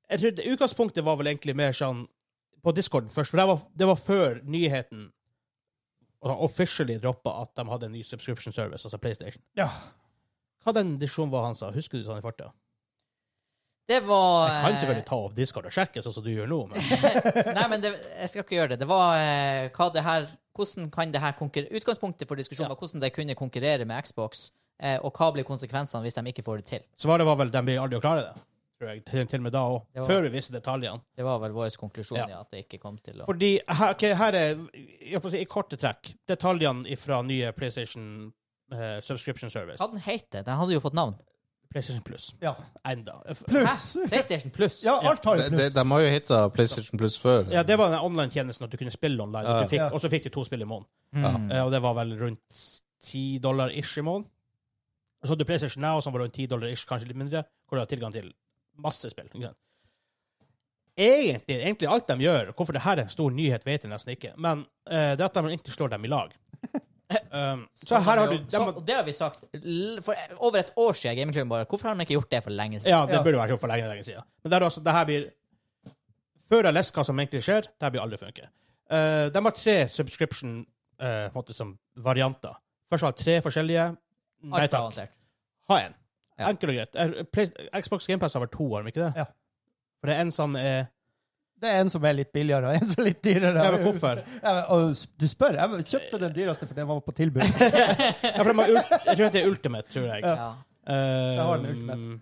Jeg tror det- utgangspunktet var vel egentlig mer sånn på Discorden først, for det var, det var før nyheten officially droppa at de hadde en ny subscription service, altså PlayStation. Ja. Hva den diskusjonen var han sa? Husker du sånn i farta? Det var Jeg kan eh, selvfølgelig ta opp Discord og sjekke, sånn som du gjør nå, men Nei, men det, jeg skal ikke gjøre det. Det var eh, hva det her, hvordan kan det her konkurrere Utgangspunktet for diskusjonen var hvordan de kunne konkurrere med Xbox, eh, og hva blir konsekvensene hvis de ikke får det til. svaret var vel de blir aldri å klare det. Tror jeg, til, til og med da òg. Det var- Før vi visste detaljene. Det var vel vår konklusjon, Ja. ja, at det ikke kom til å Fordi her, ok, her er jeg på å si, i korte trekk detaljene fra nye PlayStation eh, Subscription Service. Hva den heter den? hadde jo fått navn. PlayStation Plus. Ja. Enda. F- Pluss. Hæ? PlayStation Plus. Ja, alt har De, jo de, pluss. de har jo hita PlayStation Plus før. Ja, det var den online-tjenesten at du kunne spille online, og, du fikk, Ja. og så fikk du to spill i måneden. Mm. Eh, og det var vel rundt 10 dollar ish i måneden. Og så hadde du PlayStation Now, som var rundt 10 dollar ish, kanskje litt mindre, hvor du har tilgang til masse spill. ikke sant? Egentlig, egentlig alt de gjør, hvorfor det her er en stor nyhet, vet jeg nesten ikke, men eh, det er at de egentlig slår dem i lag. Um, så her har du Så, de, og det har vi sagt l- for over et år siden. i Gamingklubben bare Hvorfor har de ikke gjort det for lenge siden? Ja, det Ja. burde vært gjort for lenge, lenge siden. Men det, er altså, det her blir Før jeg har lest hva som egentlig skjer, det her blir aldri funket. Eh, de har tre subscription eh, på en måte som varianter. Først var det tre forskjellige. Nei Alt for takk. avansert. Ha en. Ja. Enkelt og greit. Eh, Play- Xbox GamePass har vært to, har de ikke det? Ja. For det er en som er Det er en som er litt billigere, og en som er litt dyrere. Ja, men hvorfor? Ja, men, og s- du spør. Jeg kjøpte den dyreste fordi den var på tilbud. Ja, for de har ul- jeg tror det er Ultimate, tror jeg. Ja. Eh, Jeg har den Ultimate.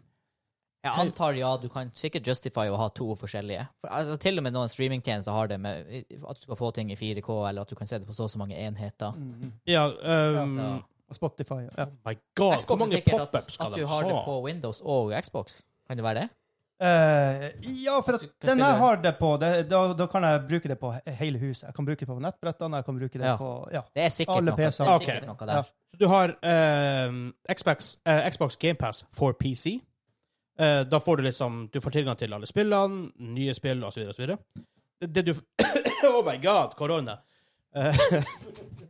Jeg antar ja, du kan sikkert justify å ha to forskjellige. For, altså, til og med noen streamingtjenester har det med at du skal få ting i 4K, eller at du kan se det på så og så mange enheter. Mm. Ja, um, Ja, så- Og Spotify. Ja. My god, hvor Xbox er mange sikkert at, pop-ups skal at de du har det ha? på Windows og Xbox. Kan det være det? Eh, ja, for at Du kan den stille jeg har det på, det, da, da kan jeg bruke det på he- hele huset. Jeg kan bruke det på nettbrettene, jeg kan bruke det Ja. på ja. Det er sikkert, Alle noe, det er PC-er. sikkert Ok. noe der. Så du har eh, Xbox, eh, Xbox GamePass for PC. Eh, da får du liksom Du får tilgang til alle spillene, nye spill osv. osv. Det, det du Oh my god, korona! Eh,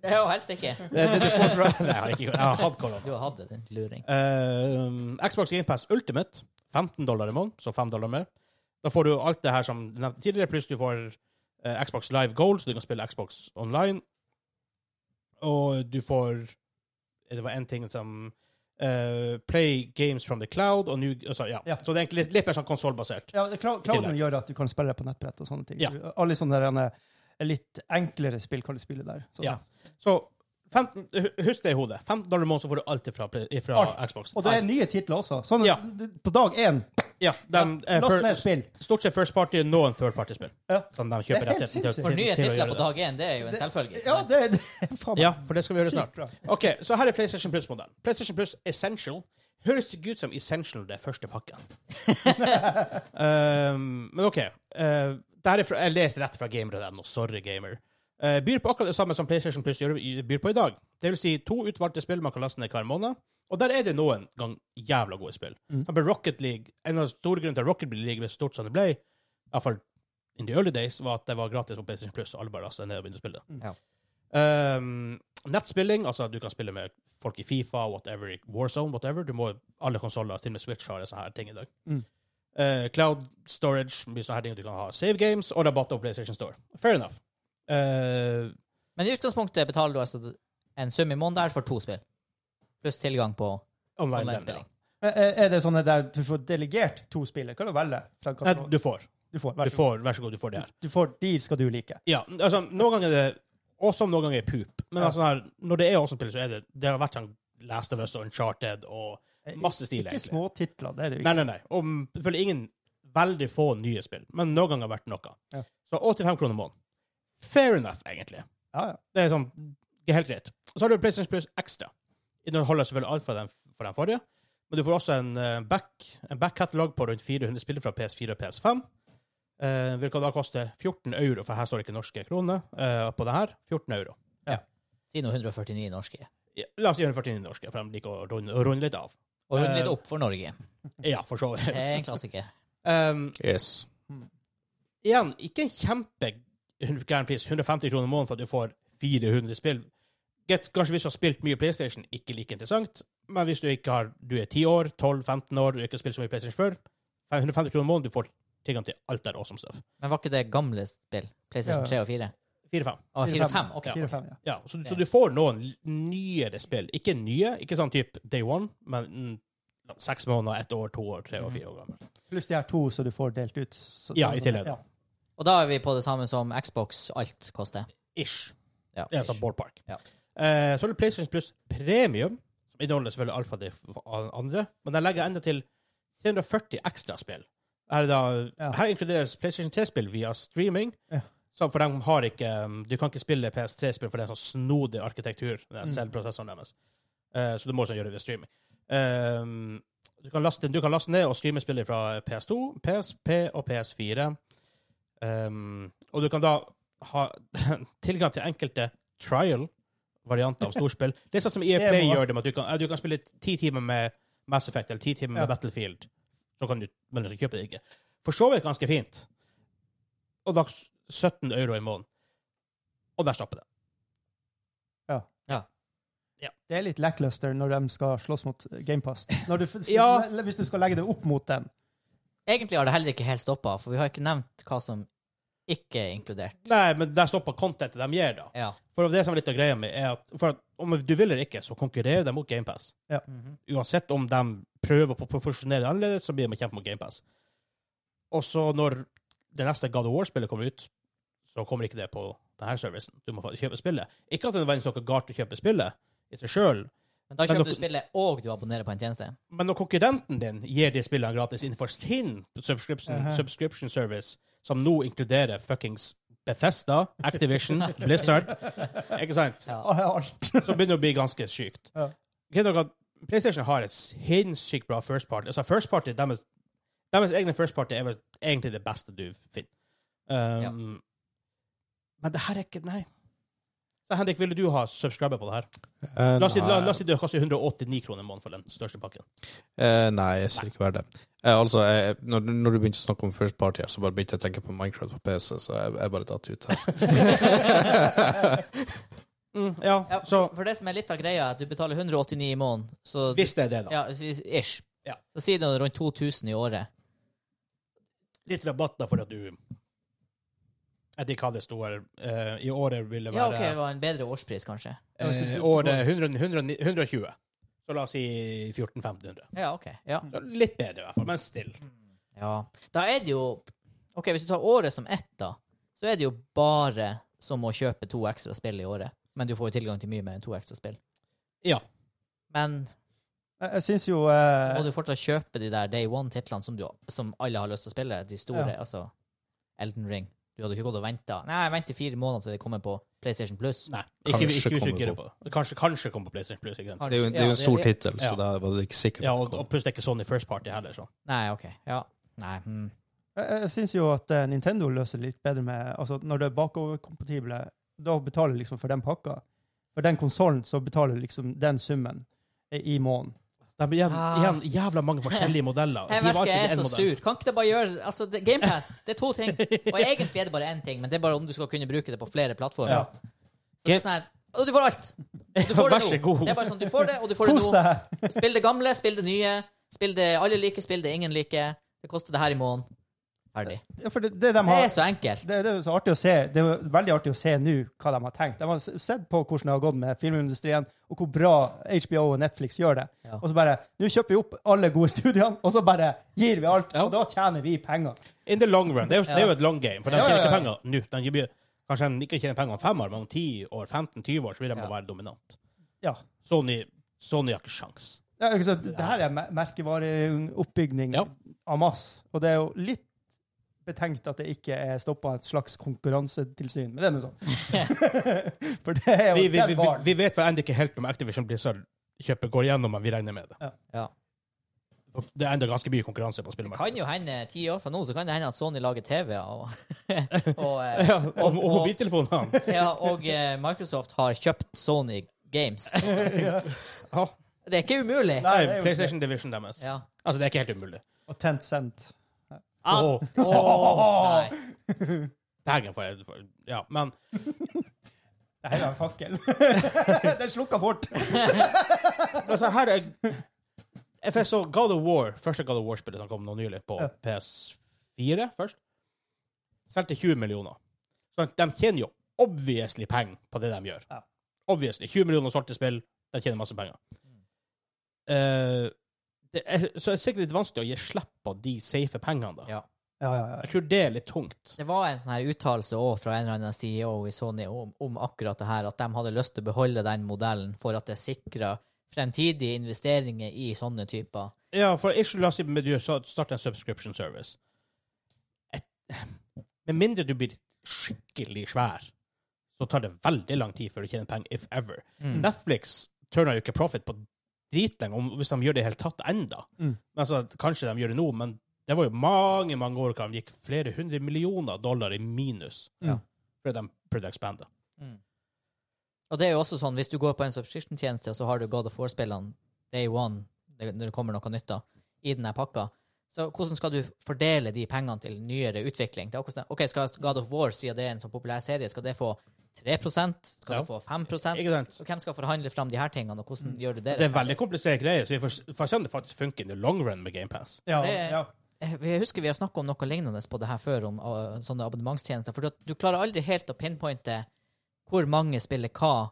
Det er jo helst ikke. det, det du får fra Nei, jeg har, ikke, jeg har hatt korona. Du har hatt det, din luring. Eh, Xbox GamePass Ultimate, 15 dollar i måneden, så 5 dollar mer. Da får du alt det her som jeg nevnte tidligere, pluss du får eh, Xbox Live Gold, så du kan spille Xbox online. Og du får Det var en ting som eh, Play games from the cloud, og new altså, ja. Ja. Så det er egentlig litt, litt mer sånn konsollbasert. ja det- cloud- tillegg. Clouden gjør at du kan spille på nettbrett og sånne ting. Ja. Du- Alle sånne der, eh, litt enklere spill kan du spille der. Sånn. Så- Ja. Så 15, hu- husk det i hodet. 15 dollar i måneden, så får du alt ifra, Play- ifra Alt. Xbox. Og det er Alt. nye titler også. Sånn, Ja. d- På dag én, Ja, de, eh, last ned fir- spill. stort sett first party, noen third party-spill. Ja. Som de Det kjøper er helt rettigheten til, sinnssykt. til, For nye til å titler gjøre på dag én, det er jo en selvfølge. Ja, det, det faen meg Ja, for det skal vi gjøre sykt snart. bra. Ok, så her er PlayStation Plus-modellen. PlayStation Plus Essential høres ikke ut som Essential det er første pakken. um, men ok, uh, der er fra, jeg leser rett fra gamer.no, sorry gamer. Uh, byr på akkurat det samme som PlayStation Plus gjør, byr på i dag. Det vil si to utvalgte spill man kan laste ned hver måned, og der er det noen gang jævla gode spill. Mm. For eksempel Rocket League, en av de store grunnene til at Rocket League ble så stort som det ble, i hvert fall in the early days, var at det var gratis på PlayStation Plus, og alle bare lastet ned og begynte å spille det. Ja. Um, nettspilling, Ehm, altså at du kan spille med folk i Fifa, whatever, i Warzone, whatever. Du må, alle konsoller, til og med Switch, har sånne her ting i dag. Mm. Eh, cloud storage, mye sånne her ting du kan ha. Save games og rabatter på PlayStation Store. Fair enough. Eh, Men i utgangspunktet betaler du altså en sum i måneden for to spill. Pluss tilgang på online online-spilling. Er er det sånn at der du får delegert to spillere? Kan du velge? Fra Ja. Nei, katalog? du får. du får, Du vær så god. får. Vær så god, du får det her. Du får, de skal du like. Ja, altså, noen ganger er det Også noen ganger er det pup. Men Ja. altså, her, når det er awesome-spill, så er det Det har vært sånn Last of Us og Uncharted og Masse stil, Ikke egentlig. små titler, det er det jo Nei, nei, ikke. nei. Og selvfølgelig ingen veldig få nye spill, men noen ganger har vært noe. Ja. Så 85 kroner måneden. Fair enough, egentlig. Ja, ja. Det er sånn det er helt greit. Og så har du PlayStation Plus ekstra. Den holder selvfølgelig alt fra den, fra den forrige, men du får også en eh, back en back-katalog på rundt 400 spill fra PS4 og PS5. Uh, hvilket da koster 14 euro, for her står det ikke norske kroner eh, på det her. 14 euro. Si nå 149 norske. Ja, la oss gjøre 49 norske, for de liker å runde, runde litt av. Og runde litt Eh, opp for Norge. Ja, for så Det er vidt. en klassiker. Um, Yes. igjen, ikke en kjempegæren pris. 150 kroner i måneden for at du får 400 spill. Get, kanskje hvis du har spilt mye PlayStation, ikke like interessant. Men hvis du ikke har, du er 10 år, 12-15 år, du ikke har spilt så mye PlayStation før, 150 kroner i måneden, du får tilgang til alt der awesome stuff. Men var ikke det gamle spill? PlayStation 3 Ja. og 4? 4-5. Å, 4 og 5? Ok. Fire, fem, ja. Ja, så, så du får noen l- nyere spill. Ikke nye, ikke sånn type day one, men mm, seks måneder, ett år, to år, tre år, fire år gammel. Pluss de her to som du får delt ut. så- Ja, sånn i som- tillegg. ja. Og da er vi på det samme som Xbox alt koster. Ish. Ja, Ja, sånn ish. ballpark. Ja. Eh, så er det PlayStation Plus Premium, som inneholder selvfølgelig alt fra de f- andre, men den legger enda til 340 ekstra spill. Her, er da, Ja. her inkluderes PlayStation 3-spill via streaming, Ja. så for de har ikke um, Du kan ikke spille PS3-spill, for det er en sånn snodig arkitektur, den der Mm. selvprosessoren deres. Eh, så du må også gjøre det via streaming. Um, du, kan laste, du kan laste ned og streame spillet fra PS2, PSP og PS4. Um, og du kan da ha tilgang til enkelte trial-varianter av storspill. Det er sånn som EA Det Play må- gjør det, med at du kan, eh, du kan spille ti timer med Mass Effect eller ti timer med Ja. Battlefield. Så kan du, men du skal kjøpe det ikke. For så vidt ganske fint. Og da s- 17 euro i måneden. Og der stopper det. Det er litt lackluster når de skal slåss mot GamePast. Ja. Hvis du skal legge det opp mot den. Egentlig har det heller ikke helt stoppa, for vi har ikke nevnt hva som ikke er inkludert. Nei, men der stopper contentet de gir, da. Ja. For det som er litt av greia med, er at, for at om du vil eller ikke, så konkurrerer de mot GamePass. Mhm. uansett om de prøver å proporsjonere det annerledes, så blir de kjempe mot GamePass. Og så når det neste God of War-spillet kommer ut, så kommer ikke det på denne servicen. Du må faktisk kjøpe spillet. Ikke at det er nødvendigvis noe galt å kjøpe spillet i seg sjøl, Men da Men kjøper dere- du spillet, og du abonnerer på en tjeneste. men når konkurrenten din gir de spillene gratis innenfor sin subscription, Mhm. subscription service, som nå inkluderer fuckings Bethesda, Activision, Blizzard Ikke sant? Ja. Alt. Så begynner det å bli ganske sykt. Ja. Ikke nok at PlayStation har et sinnssykt bra first party. Altså, first party, deres, deres egne first party er vel egentlig det beste du finner. Um, Ja. Men det her er ikke Nei. Så Henrik, ville du ha subscriber på det her? Eh, La oss si, la, la oss nei. si det koster 189 kroner i måneden for den største pakken. Eh, nei, jeg ser ikke verdt det. Eh, altså, jeg, når, når du begynte å snakke om first party, her, så bare begynte jeg å tenke på Minecraft på PC, så jeg, jeg bare datt ut her. Mm, ja, Ja, så For det som er litt av greia, er at du betaler 189 i måneden, så hvis det er det, da. ja, hvis- Ish. Ja. Så sier det rundt 2000 i året. Litt rabatt da for at du Jeg vet ikke hva det sto her. Eh, I året ville Ja, OK, være det var en bedre årspris, kanskje. eh, Året 100, 100, 120. Så la oss si 1400-1500. Ja, OK. Ja. Så Litt bedre, i hvert fall, men still. ja. Da er det jo OK, hvis du tar året som ett, da, så er det jo bare som å kjøpe to ekstra spill i året. Men du får jo tilgang til mye mer enn to ekstra spill. Ja. Men Jeg, jeg syns jo så eh, må du fortsatt kjøpe de der Day One-titlene som, du- som alle har lyst til å spille. De store, Ja. altså Elden Ring. Du hadde ikke gått og venta. Nei, vent i fire måneder til det kommer på PlayStation Plus. Nei. Ikke, Kanskje ikke, ikke kommer uttrykk det på. Kanskje, kanskje kommer på PlayStation Plus. Ikke sant? Kanskje. det er jo, det er jo en stor Ja, det- tittel, så ja. da var det ikke sikkert. Ja, at det og, kom. og pluss det er ikke Sony First Party heller. Så. Nei, OK. Ja. Nei. hmm. jeg, jeg syns jo at eh, Nintendo løser det litt bedre med altså Når det er bakoverkompatible, da betaler liksom for den pakka. For den konsollen så betaler liksom den summen eh, i måneden. Det er igjen, Ah. igjen jævla mange forskjellige modeller. Hiv Jeg merker jeg alltid er en så modell. sur. Kan ikke det bare gjøre Altså, det- Game Pass, det er to ting. Og egentlig er det bare én ting, men det er bare om du skal kunne bruke det på flere plattformer. Ja. Så det er sånn her Og du får alt. Du Vær får det nå. så god. Det er bare sånn, du får det, og du får det Kos nå. deg! Spill det gamle, spill det nye. Spill det alle liker, spill det ingen liker. Det koster det her i måneden. Ferdig. Ja, for det, det de Det har er så enkelt. det, det er jo så artig å se. Det er jo veldig artig å se nå hva de har tenkt. De har s- sett på hvordan det har gått med filmindustrien, og hvor bra HBO og Netflix gjør det. Ja. Og så bare Nå kjøper vi opp alle gode studiene, og så bare gir vi alt. Ja. Og da tjener vi penger. In the long run. Det er jo, det er jo et long game, for de Ja, ja, tjener ja. ikke penger nå. De gir- Kanskje de ikke tjener penger om fem år, men om ti år, 15-20 år, så vil de Ja. være dominant. Ja. Sony, Sony har ikke sjans. Det, er, ikke sant, det her er mer- merkevareoppbygning Ja. av masse. Og det er jo litt betenkt at det ikke er stoppa et slags konkurransetilsyn. Men det er nå sånn. For det er jo Vi, vi, vi, den vi, varen. vi vet vel ennå ikke helt om Activision Blizzard kjøper går igjennom, men vi regner med det. Ja. Og Det er ennå ganske mye konkurranse på Kan spillmarkedet. jo hende ti år fra nå så kan det hende at Sony lager TV, og, og, eh, Ja, og, og mobiltelefonene. ja, og eh, Microsoft har kjøpt Sony Games. Ja. Det er ikke umulig. Nei, det er jo PlayStation Division deres. Ja. Altså, det er ikke helt umulig. Og Tencent. Åh, Åh, nei. Dagen får jeg for- Ja, men Det her er en fakkel. Den slukka fort. altså, her er Jeg fikk så God of War, første God of War-spillet som kom nå nylig, på Ja. PS4 først, solgte 20 millioner. Så de tjener jo obviously penger på det de gjør. Ja. Obviously. 20 millioner solgte spill, de tjener masse penger. Eh, det er, så er det sikkert litt vanskelig å gi slipp på de safe pengene, da. Ja. Ja, ja, ja. Jeg tror det er litt tungt. Det var en sånn her uttalelse også fra en eller annen CEO i Sony om, om akkurat det her, at de hadde lyst til å beholde den modellen for at det sikra fremtidige investeringer i sånne typer. Ja, for ikke la oss si men du sa- starte en subscription service. Et, med mindre du blir skikkelig svær, så tar det veldig lang tid før du tjener penger, if ever. Mm. Mm. Netflix turner jo ikke profit på dritlenge om- hvis de gjør det i hele tatt enda. Mm. Men Altså, kanskje de gjør det nå, men det var jo mange mange år hvor de gikk flere hundre millioner dollar i minus Ja. fordi de prøvde å ekspandere. Og det er jo også sånn, hvis du går på en subscription-tjeneste, og så har du God of War-spillene day one, det- når det kommer noe nytt da, i denne pakka, så hvordan skal du fordele de pengene til nyere utvikling? Det er akkurat sånn, ok, Skal God of War, siden det er en sånn populær serie, skal det få 3 Skal Ja. det få 5 Ikke sant? Og hvem skal forhandle fram de her tingene, og hvordan gjør du Mm. det? Det er veldig kompliserte greier, så vi får, får se om det faktisk funker in the long run med GamePass. ja, Det- ja. Eh, Jeg husker vi har snakka om noe lignende på det her før, om eh, sånne abonnementstjenester. For du, du klarer aldri helt å pinpointe hvor mange spiller hva,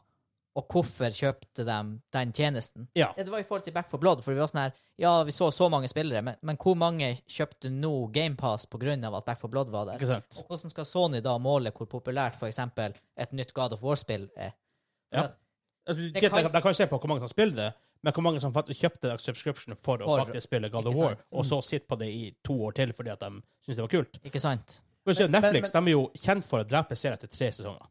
og hvorfor kjøpte de den tjenesten. Ja. Eh, Det var i forhold til Back for Blood, for vi var sånn her Ja, vi så så mange spillere, men, men hvor mange kjøpte nå GamePass pga. at Back for Blood var der? Ikke sant? Og hvordan skal Sony da måle hvor populært f.eks. et nytt God of War-spill er? For Ja. at- Altså, Det det kan- kan... De kan jo se på hvor mange som spiller det, men hvor mange som faktisk kjøpte den subscription for, å For- faktisk spille God of ikke War, sant? og så sitte på det i to år til fordi at de syntes det var kult. Ikke sant? Men, Men- Netflix de er jo kjent for å drepe serier etter tre sesonger.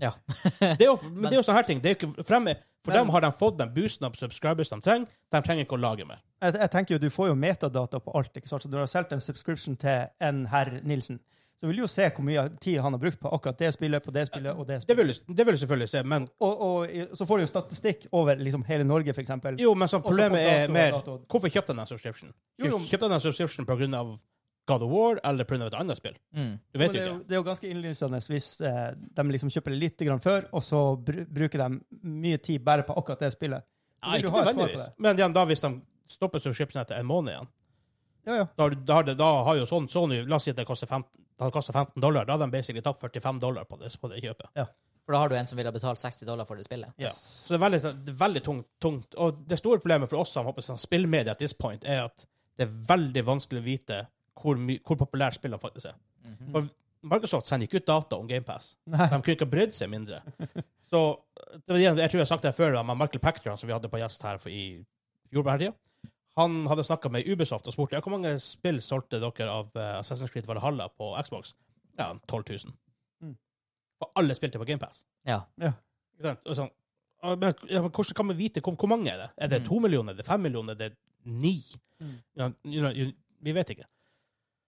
Ja. Det er jo, men, det er jo sånne her ting. Det er jo ikke, for dem, for Men- dem har de fått den boosten av subscribers de trenger. De trenger ikke å lage mer. Jeg, jeg tenker jo, Du får jo metadata på alt. ikke sant? Så Du har solgt en subscription til en herr Nilsen. Så vil du jo se hvor mye tid han har brukt på akkurat det spillet, på det spillet og det Det spillet. vil, du- det vil du selvfølgelig se, men, Og, og i- så får du jo statistikk over liksom hele Norge, f.eks. jo, men så på problemet dato er og mer dato. Hvorfor kjøpte de den subscription? Jo, jo. Kjøpte de den subscription pga. God of War eller pga. et annet spill? Mm. Du vet det, jo ikke. er jo, det er jo ganske innlysende hvis eh, de liksom kjøper det litt grann før, og så br bruker de mye tid bare på akkurat det spillet. Så Nei, ikke vil du ha et svar på nødvendigvis. Men igjen, da hvis de stopper subscription etter en måned igjen det. Ja, ja. Da, har du- da, har det, da har jo sånn, Sony La oss si at det koster 15, det hadde kostet 15 dollar. Da har de basically tapt 45 dollar på det, på det kjøpet. For da har du en som ville ha betalt 60 dollar for det spillet. Yes. Så det er veldig, sånn- det er veldig tungt, tungt. Og det store problemet for oss som håper sånn spillmedia at this point, er at det er veldig vanskelig å vite hvor, my, hvor populært spillene faktisk er. Mhm. For Microsoft sender ikke ut data om GamePass. De kunne ikke ha brydd seg mindre. Så det var igjen, jeg tror jeg har sagt det her før, da, men Michael Pactor, som vi hadde på gjest her for, i fjor på denne tida, han hadde snakka med Ubisoft og spurt ja, hvor mange spill solgte dere av eh, Assassin's Creed Valhalla på Xbox. Ja, 12 000. Mm. Og alle spilte på GamePass. Ja. Ikke sant? Og sånn, «Å, men, ja, men hvordan kan man vite hvor, hvor mange er det? Er det Mm. to millioner? Er det fem millioner? Er det ni? Mm. Ja, you know, you, vi vet ikke.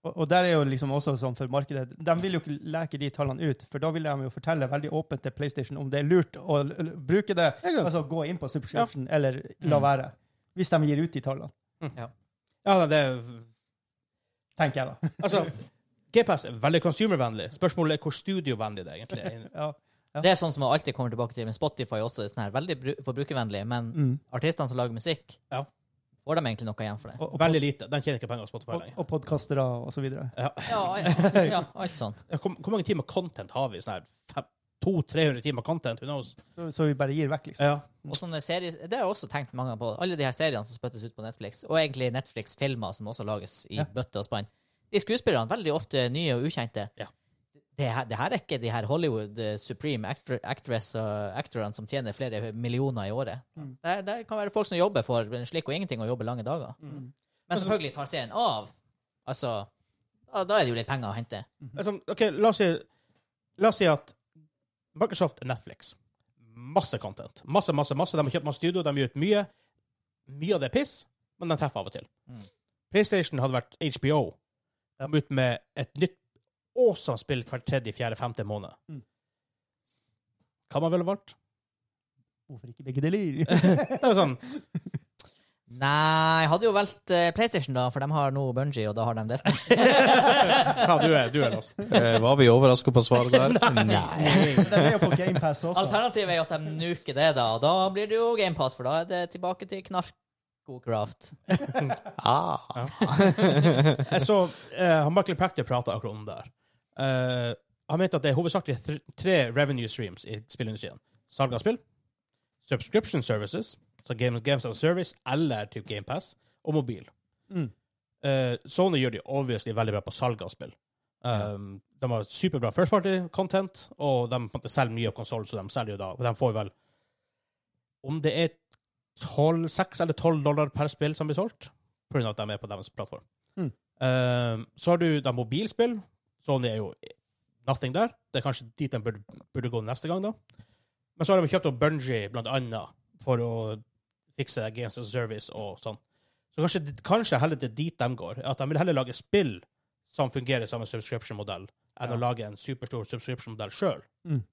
Og, og der er jo liksom også sånn for markedet De vil jo ikke leke de tallene ut, for da vil de jo fortelle veldig åpent til PlayStation om det er lurt å l l bruke det, Ikke sant? altså gå inn på subscription, eller la Mm. være. Hvis de gir ut de tallene, Ja, nei, det er tenker jeg da. Altså, GPass er veldig consumervennlig. Spørsmålet er hvor studiovennlig det egentlig er. Ja, ja. Ja. Det er sånn som man alltid kommer tilbake til, men Spotify også er sånn her, veldig bru- forbrukervennlig. Men Mm. artistene som lager musikk, Ja. får de egentlig noe igjen for det? Og, og, Veldig lite. Den tjener ikke penger på Spotify og, lenger. og podkastere og så videre. Ja. Ja, ja, ja alt sånn. Hvor, hvor mange timer content har vi? Sånn her 200-300 timer content? Who knows? Så, så vi bare gir vekk, liksom. Ja. Og sånne serier, Det har jeg også tenkt mange ganger på. Alle de her seriene som spyttes ut på Netflix, og egentlig Netflix-filmer som også lages i Ja. bøtte og spann. De skuespillerne, veldig ofte nye og ukjente. Ja. Det, her, det her er ikke de her Hollywood eh, Supreme actr- actress og actorene som tjener flere millioner i året. Mm. Det, det kan være folk som jobber for en slikk og ingenting og jobber lange dager. Mm. Men selvfølgelig tar serien av. Altså, da, da er det jo litt penger å hente. Altså, OK, la oss si La oss si at Microsoft er Netflix. Masse content. Masse, masse, masse. De har kjøpt masse studio, de gir ut mye. Mye av det er piss, men de treffer av og til. Mm. PlayStation hadde vært HBO. De kom ut med et nytt awesome spill hver tredje, fjerde, femte måned. Mm. Hva man ville valgt? Hvorfor ikke begge deler? Det er jo sånn Nei, jeg hadde jo valgt eh, PlayStation, da, for de har nå Bungie, og da har de Destiny. Ja, du er, du er lost. Eh, var vi overraska på svaret der? Nei. Den er jo på GamePass også. Alternativet er jo at de nuker det, da. Og da blir det jo GamePass, for da er det tilbake til knarkokraft. Ah. Jeg så eh, han Michael Pachter prata akkurat om det. her. Eh, han mente at det er hovedsakelig tre, tre revenue streams i spillindustrien. Salg av spill, subscription services, så game, Games as a Service eller typ GamePass, og mobil. Mm. Eh, Sony gjør de obviously veldig bra på salg av spill. Um, De har superbra first party content, og de på en måte selger mye av konsoll, så de selger jo da Og de får vel Om det er 12, 6 eller 12 dollar per spill som blir solgt, pga. at de er på deres plattform. Mm. Um, så har du da mobilspill. Sony er jo nothing der. Det er kanskje dit de burde, burde gå neste gang, da. Men så har de kjøpt opp Bungie, blant annet, for å fikse Games as a Service og sånn. Så kanskje, kanskje heller det er dit de går. At de vil heller lage spill som fungerer som en subscription-modell, enn Ja. å lage en superstor subscription-modell sjøl. Mm.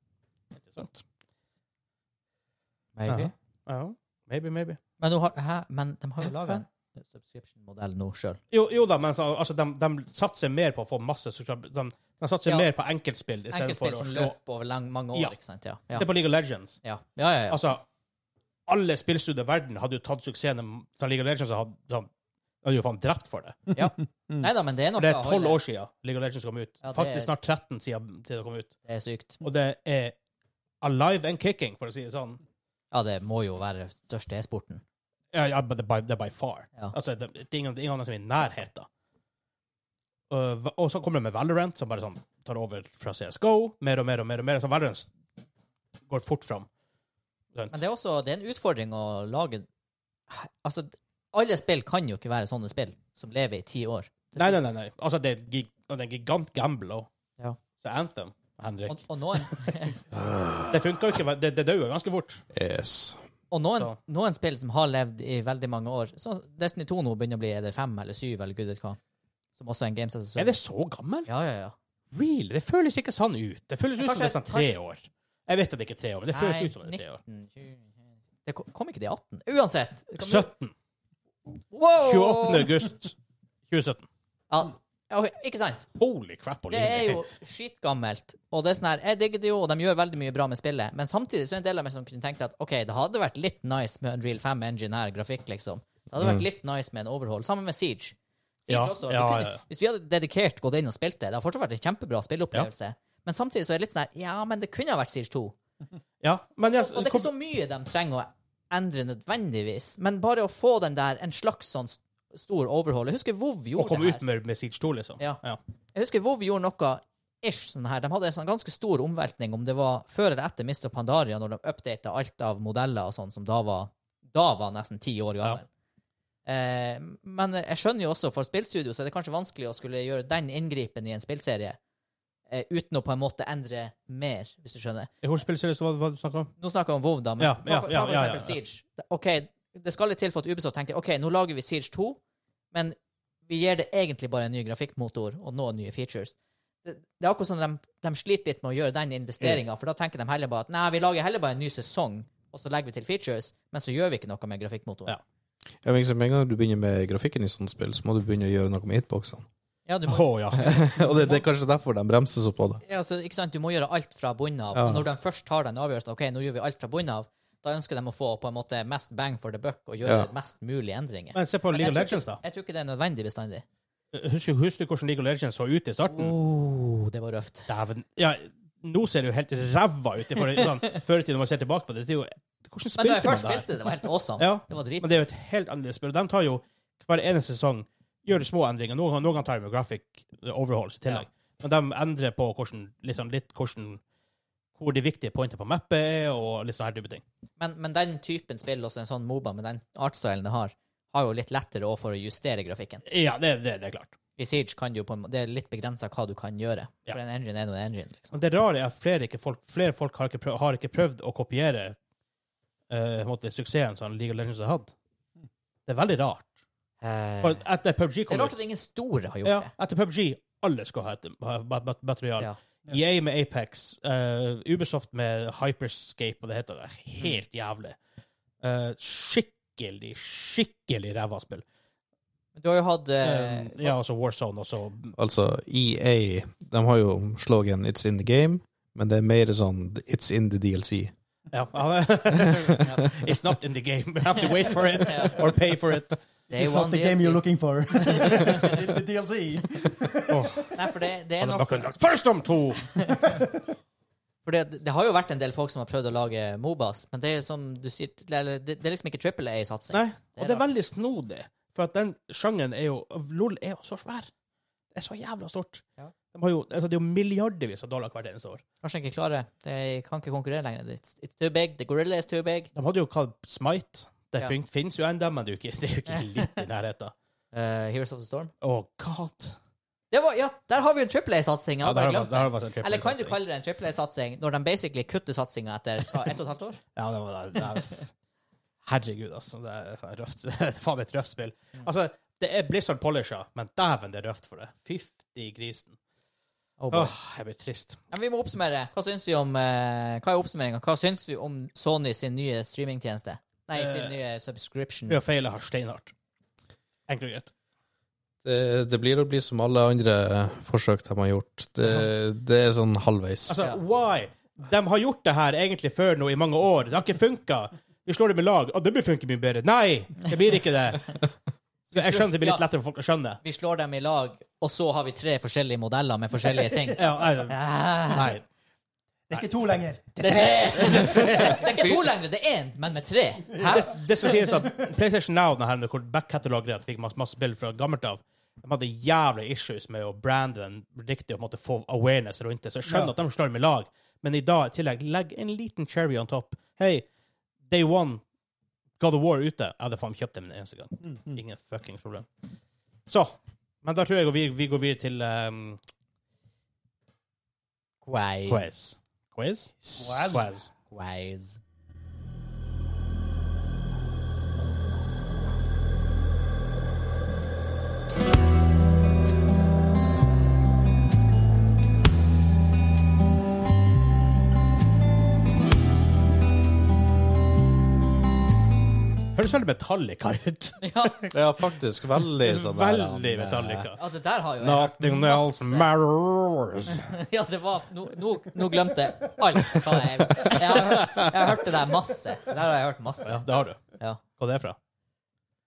Interessant. Maybe. Ja. Ja. Maybe, maybe. Men, nå har, hæ? Men de har jo laga en subscription-modell nå sjøl. Jo, jo da, men så, altså, de, de satser mer på å få masse subscrib- De, de satser Ja. mer på enkeltspill i stedet for Enkeltspill å som slå løper over lang, mange år, Ja. ikke sant? Ja. Ja. Se på League of Legends. Ja. Ja, ja, ja. Altså, alle spillstudier i verden hadde jo tatt suksessen fra League of Legends og hadde, sånn, hadde jo faen drept for det. Nei da, men det er noe For Altså, mm. det å er holde- tolv år siden League of Legends kom ut. Ja, det er- Mm. Faktisk snart 13 siden til det kom ut. Det er sykt. Og det er alive and kicking, for å si det sånn. Ja, det må jo være største e-sporten. Ja, ja, but det er by, det er by far. Ja. Altså, det, det er ingen, det er ingen andre som er i nærheten. Og, hva- og så kommer det med Valorant, som bare sånn tar over fra CSGO. Mer og mer og mer. og mer. Så Valorant s- går fort fram. Sånn. Sant? Men det er også det er en utfordring å lage Altså, alle spill kan jo ikke være sånne spill som lever i ti år. Nei, nei, nei. nei. Altså, det er, en gig, og det er en gigant gamble også. Ja. Så Anthem, Henrik Og, og noen Det funker jo ikke. Det, det dør jo ganske fort. Yes. Og noen, Så- noen spill som har levd i veldig mange år Sånn som Destiny 2 nå begynner å bli Er det fem eller syv eller gud vet hva. Som også er en games as a Er det service. så gammelt? Ja, ja, ja. Really? Det føles ikke sånn ut. Det føles ut som det Kanskje- er sånn tre år. Jeg vet at det ikke er tre år, men det føles Nei, ut som det er tre år. 19, 20, Det kom, kom ikke det i 18? Uansett. det kom- 17. Wow! 28. august 2017. Ja, ja, ok, ikke sant? Holy crap. Det er jo skitgammelt. Og det er sånn her, jeg digger det jo, og de gjør veldig mye bra med spillet. Men samtidig så er det en del av meg som kunne tenkt at OK, det hadde vært litt nice med Unreal 5 Engine her, grafikk, liksom. Det hadde vært litt nice med en overhold. Sammen med Siege. Siege Mm. Ja, også. Du ja, kunne, ja. Hvis vi hadde dedikert gått inn og spilt det, det hadde fortsatt vært en kjempebra spilleopplevelse. Men samtidig så er det litt sånn her Ja, men det kunne ha vært Siege 2. Ja, men jeg, Og det er ikke så mye de trenger å endre nødvendigvis, men bare å få den der, en slags sånn st- stor overhold. Jeg husker WoW å gjorde komme det ut her. med, med Siege 2, liksom. Ja. Ja. Jeg husker WoW gjorde noe ish sånn her. De hadde en sånn ganske stor omveltning, om det var før eller etter Mist of Pandaria, når de updata alt av modeller og sånn, som da var, da var nesten ti år gammel. Eh, men jeg skjønner jo også, for spillstudio så er det kanskje vanskelig å skulle gjøre den inngripen i en spillserie eh, uten å på en måte endre mer, hvis du skjønner. Hvilken spillserie var det- var det du snakka om? Nå snakker jeg om WoW, da, men Ja, ta, for- ja, ta for ja, ja, eksempel Siege. OK, det skal litt til for at Ubisoft tenker OK, nå lager vi Siege 2, men vi gir det egentlig bare en ny grafikkmotor og noen nye features. Det, det er akkurat som de, de sliter litt med å gjøre den Mm. investeringa, for da tenker de heller bare at nei, vi lager heller bare en ny sesong, og så legger vi til features, men så gjør vi ikke noe med grafikkmotoren. Ja. Jeg mener, med en gang du begynner med grafikken i sånne spill, så må du begynne å gjøre noe med hitboxene. Ja, du Å må, ja. og det, det er kanskje derfor de bremser så på det. ja, så, ikke sant? du må gjøre alt fra bunnen av. Ja. Og når de først tar den avgjørelsen ok, nå gjør vi alt fra bunnen av, da ønsker de å få på en måte mest bang for the buck og gjøre Ja. mest mulig endringer. Men se på League of jeg, tror Legends, ikke, da. jeg tror ikke det er nødvendig bestandig. Husker, husker du hvordan League of Legends så ut i starten? Oh, det var røft. Dæven. Ja, nå ser det jo helt ræva ut. i forhold til sånn, Før i tiden, når man ser tilbake på det, det er jo Hvordan Men da spilte jeg først man det her? spilte, det, det var helt awesome. Ja. Det var drit. Men det er jo et helt annerledes spill. De tar jo hver eneste sesong gjør små endringer. Noen, noen ganger tar de jo graphic overholds i tillegg. Men de endrer på hvordan, liksom, litt hvordan hvor de viktige pointene på mappet er, og litt sånne her type ting. Men, men den typen spill, også en sånn Moba med den artstylen det har, har jo litt lettere også for å justere grafikken. Ja, det, det, det er klart. I Siege kan du jo på en må- Det er litt begrensa hva du kan gjøre. Ja. For en engine er nå en engine, liksom. Men det rare er at flere, ikke folk, flere folk har ikke prøvd, har ikke prøvd å kopiere eh, på en måte, suksessen som League of Legends har hatt. Det er veldig rart. Eh, For etter PubG det er kom rart ut at ingen store har gjort ja, det. Etter PubG alle skal ha et ha bat- bat- Battle Royale. Ja. EA med Apex, eh, Ubisoft med Hyperscape, og det heter det. Helt jævlig. Eh, skikkelig, skikkelig ræva spill. Men Du har jo hatt eh, Eh, ja, altså Warzone også. Altså, EA de har jo slogan 'It's in the game', men det er mer sånn 'It's in the DLC'. Ja. It's not in the game. We have to wait for it, or pay for it. Day This is not one the game DLC. you're looking for. It's in the DLC. Nei, for det, det er Han har nok bare kunnet lagt First om to! For det, det har jo vært en del folk som har prøvd å lage Mobas, men det er som du sier eller, det, det er liksom ikke trippel A-satsing. Nei, og det er veldig snodig, for at den sjangeren er jo LOL er jo så svær. Det er så jævla stort. Ja. De har jo, altså, det er jo milliardervis av dollar hvert eneste år. Kanskje ikke klarer det. Kan ikke konkurrere lenger. It's, it's too big. The gorilla is too big. De hadde jo kalt Smite. Det Ja. fin- finnes jo ennå, men det er jo ikke, det er jo ikke litt i nærheten. Eh, Heroes of the Storm. Å, god. Det var, ja, der har vi jo en trippel A-satsing. Ja, Ja, det har vært- det har eller vært en triple kan du satsing. kalle det en trippel A-satsing når de basically kutter satsinga etter hva, ett og et halvt år? Ja, det var det. er- Herregud, altså. Det er faen røft. Det er faen meg et røft spill. Mm. Altså, det er Blizzard Polisher, men dæven, det er røft for det. Fyfti grisen. Oh, boy. Åh, jeg blir trist. Men vi må oppsummere. Hva syns vi om eh, Hva er oppsummeringa? Hva syns vi om Sony sin nye streamingtjeneste? Nei, sin Eh, nye subscription. Vi har feila her steinhardt. Enkelt og greit. Det, det blir å bli som alle andre forsøk de har gjort. Det, det er sånn halvveis. Altså, Ja. why? De har gjort det her egentlig før nå i mange år. Det har ikke funka. Vi slår det med lag. Å, det blir funke mye bedre. Nei, det blir ikke det. Så jeg skjønner det blir litt lettere for folk å skjønne. Vi slår dem i lag, og så har vi tre forskjellige modeller med forskjellige ting. Ja, nei, Ah, nei. Det er ikke to lenger. det, er tre. det er ikke to lenger, det er én, men med tre. Hæ? Det, det som sies at PlayStation Now, denne her, hvor backkatalogreia fikk masse, masse spill fra gammelt av, de hadde jævlig issues med å brande den riktig og på en måte få awareness rundt det. Så jeg skjønner Ja. at de slår med lag, men i dag i tillegg, legg en liten cherry on top. Hei, day one, God of War ute. Jeg hadde faen kjøpt dem en eneste gang. Mhm. Ingen fuckings problem. Så. Men da tror jeg vi, vi går videre til um, Quais. quiz. Quiz? Quiz. Quiz. Quais. Høres veldig Metallica ut. Ja, Ja, faktisk. Veldig sånn der, Veldig eh, Metallica. ja, det der har jo jeg hørt Nothing else masse. matters. Ja, det var Nå nå- nå glemte jeg alt hva jeg Jeg har hørt, jeg har hørt det der masse. Det der har jeg hørt masse. Ja, det har du. Ja. Hva er det fra?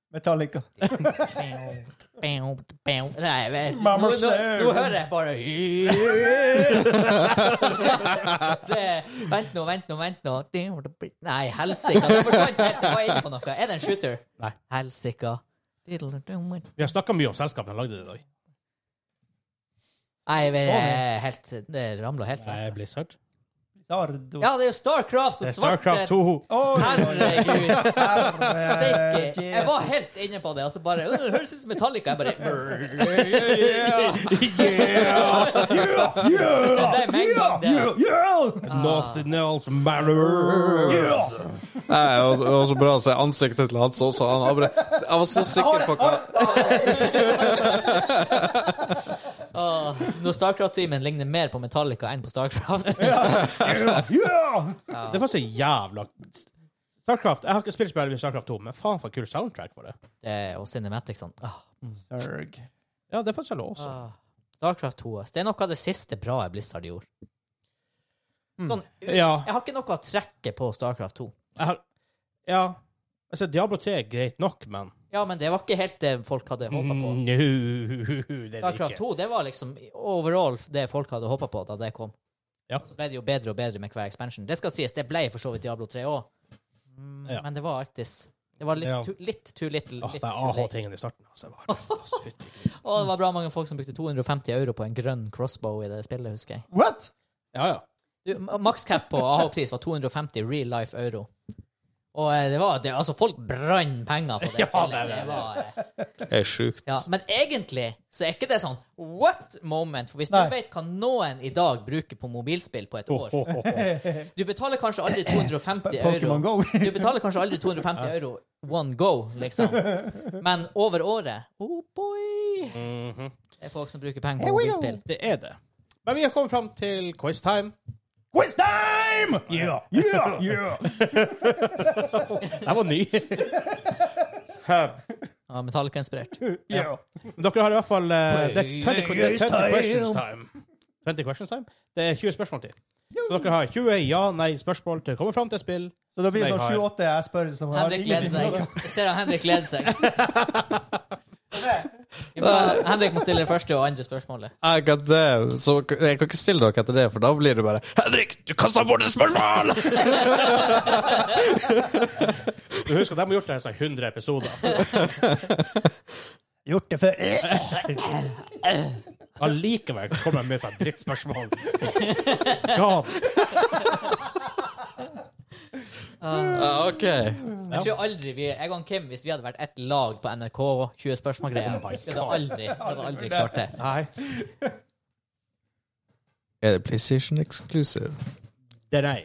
Metallica. Nei, jeg vet- nå, Mamma nå, said. nå hører jeg bare det, Vent nå, vent nå, vent nå. Nei, helsika. Det forsvant helt. Jeg var inne på noe. Er det en shooter? Nei. Helsika. Nei, Vi har snakka mye om selskapet de lagde det i dag. jeg vet, jeg er helt, det ramla helt Nei, vekk. Blizzard. Sardo. Ja, det er jo Starcraft og Det er svarte Starcraft 2. Oi, Herregud. herre Steike. Jeg var helt inne på det, og så bare «Åh, Det høres ut som Metallica. Jeg bare Det er med en gang, det. Yeah, yeah. Nothing else matters. Nei, og- og så bra å se ansiktet til Hans også. Han bare, jeg var så sikker på hva Åh, Når Starcraft-teamen ligner mer på Metallica enn på Starcraft. Yeah. Det var så jævla Starcraft, Jeg har ikke spilt spillet med Starcraft 2, men faen for kul soundtrack var det. Det, og Cinematics sånn. Ah, mm. Sørg. Ja, det er faktisk lov også. Ah, Starcraft 2. ass. Det er noe av det siste bra Blizzard gjorde. Mm. Sånn, jeg Ah. Ja. har ikke noe å trekke på Starcraft 2. Jeg har, ja. Altså, Diablo 3 er greit nok, men Ja, men det var ikke helt det folk hadde håpa på. Mm, no, det er det Starcraft ikke. 2 det var liksom overall det folk hadde håpa på da det kom. Ja. Så ble det jo bedre og bedre med hver expansion. Det skal sies, det ble for så vidt Diablo 3 òg, Ja. men det var alltid Det var litt, Ja. too, litt too little. Åh, litt det er too late. AH-tingen i starten. Altså, jeg bare, altså, fytti grisen. Og det var bra mange folk som brukte 250 euro på en grønn crossbow i det spillet, husker jeg. What?! ja, ja. Du, ma- Max cap på AH-pris var 250 real life euro. Og eh, det var det, Altså, folk brant penger på det Ja, spillet. det er det. Det var, eh, Det er sjukt. Ja, men egentlig så er ikke det sånn what moment? For hvis Nei. du vet hva noen i dag bruker på mobilspill på et Ho, år ho, ho, ho. Du betaler kanskje aldri 250 euro. Pokémon Go. Du betaler kanskje aldri 250 euro one go, liksom. Men over året Oh boy! Mhm. Det er folk som bruker penger på mobilspill. Det er det. Men vi har kommet fram til quiztime. Quiz time! Yeah, yeah, yeah! Jeg var ny. Ja, Metallica-inspirert. yeah. Men Dere har i hvert fall eh, det er 20, que- det er 20 questions time. 20 questions time? Det er 20 spørsmål til. Så dere har 20 ja-nei-spørsmål til å komme fram til spill. Så da blir det Som jeg sånn har. 7-8 jeg spør som har Henrik gleder ingenting seg. med det. Jeg ser at Henrik gleder seg. Vi må- Henrik må stille det første og andre spørsmålet. Ah, god damn. Så k- jeg kan ikke stille dere etter det, for da blir det bare Henrik, du kasta bort et spørsmål! Du husker at de har gjort det her i sånn 100 episoder. Gjort det før. Allikevel kommer de med seg drittspørsmål. God. Ah, ok. Jeg tror aldri vi, jeg og Kim, hvis vi hadde vært ett lag på NRK 20 spørsmål-greia, vi hadde aldri, vi hadde aldri klart det. Nei. Er det PlayStation Exclusive? Det er nei.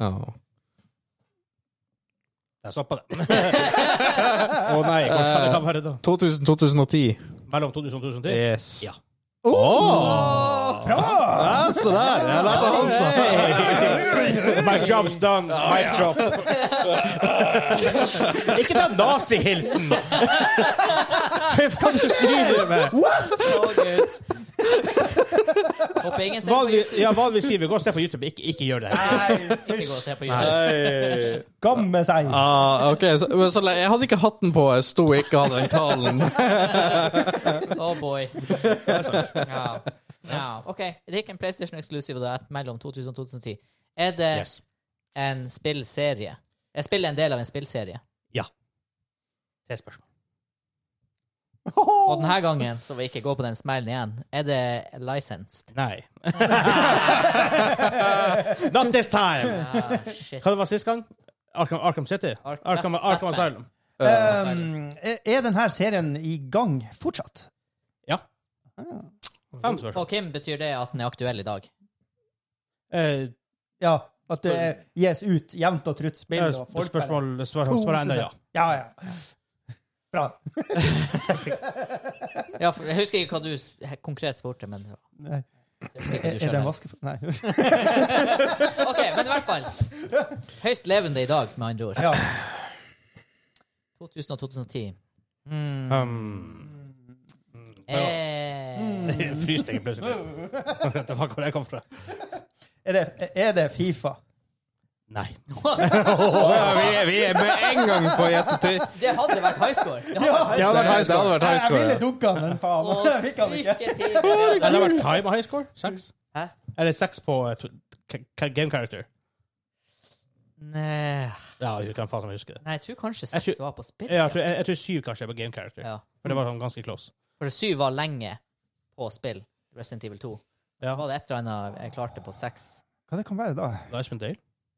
Oh. Jeg stoppa det. Å nei, hvor kan det kan være da? 2000-2010. Mellom 2000 og 2010? Yes. Ja. Åh! Ja, se der! Jeg lærte han Hey. My job's done. My job. Ikke ta nazihilsen! Hva du styrer med? Å, Gud. Håper ingen ser Hva på vi, YouTube. ja, hva vi sier, vi går og ser på YouTube. Ikke, ikke gjør det. her. Ikke gå og se på YouTube. sa. Gamme seg! Ah, ok, så, men så, jeg hadde ikke hatten på, jeg sto ikke hadde den talen. Oh boy. Ja. ja. OK. Det gikk en PlayStation Exclusive da, et mellom 2000 og 2010. Er det Yes. en spillserie? Er spillet en del av en spillserie? Tre spørsmål. Og denne gangen, så vi ikke går på den smellen igjen, er det licensed? Nei. Not this time! Ah, shit. Hva det var sist gang? Arkham, Arkham City? Ark- Arkham, Arkham Batman. Asylum? Eh, Um, er er denne serien i gang fortsatt? Ja. Ah. Fem spørsmål. Og Kim, betyr det at den er aktuell i dag? Eh, Ja. At det er- gis ut jevnt og trutt spill? ja, og folk bare- Eh, spørsmål svar, To svar enda ja. sesong. Ja, ja. Bra. Ja, for jeg husker ikke hva du s- he- konkret spurte, men det var- Nei. det fikk Er, du er det en skjønne. vaske... Nei. OK, men i hvert fall. Høyst levende i dag, med andre ord. Ja. 2000 og 2010. Mm. Um, Eh, Frysningen plutselig. Dette var hvor jeg kom fra. Er, det, er det Fifa? Nei. Åh, vi, er- vi er med en gang på gjettetid. det hadde vært high score. Det hadde vært Det hadde vært high score. Det hadde vært Nei, high jeg score, ville ja. dunka den, men faen. Å, Jeg fikk han ikke. syke tider. det Ja, hadde det har vært. vært time high score? Seks? Hæ? Eller seks på eh, tw- k- k- game character? Nei, Ja, du kan faen som huske det. Nei, jeg tror kanskje Jeg seks tror- var på spill. Jeg tror, jeg, jeg tror syv kanskje er på game character. Ja. For det var sånn ganske close. For syv var lenge på spill. Resident Evil 2. Ja. Så var det et eller annet jeg klarte på seks. Hva det kan være da? Iceman Dale?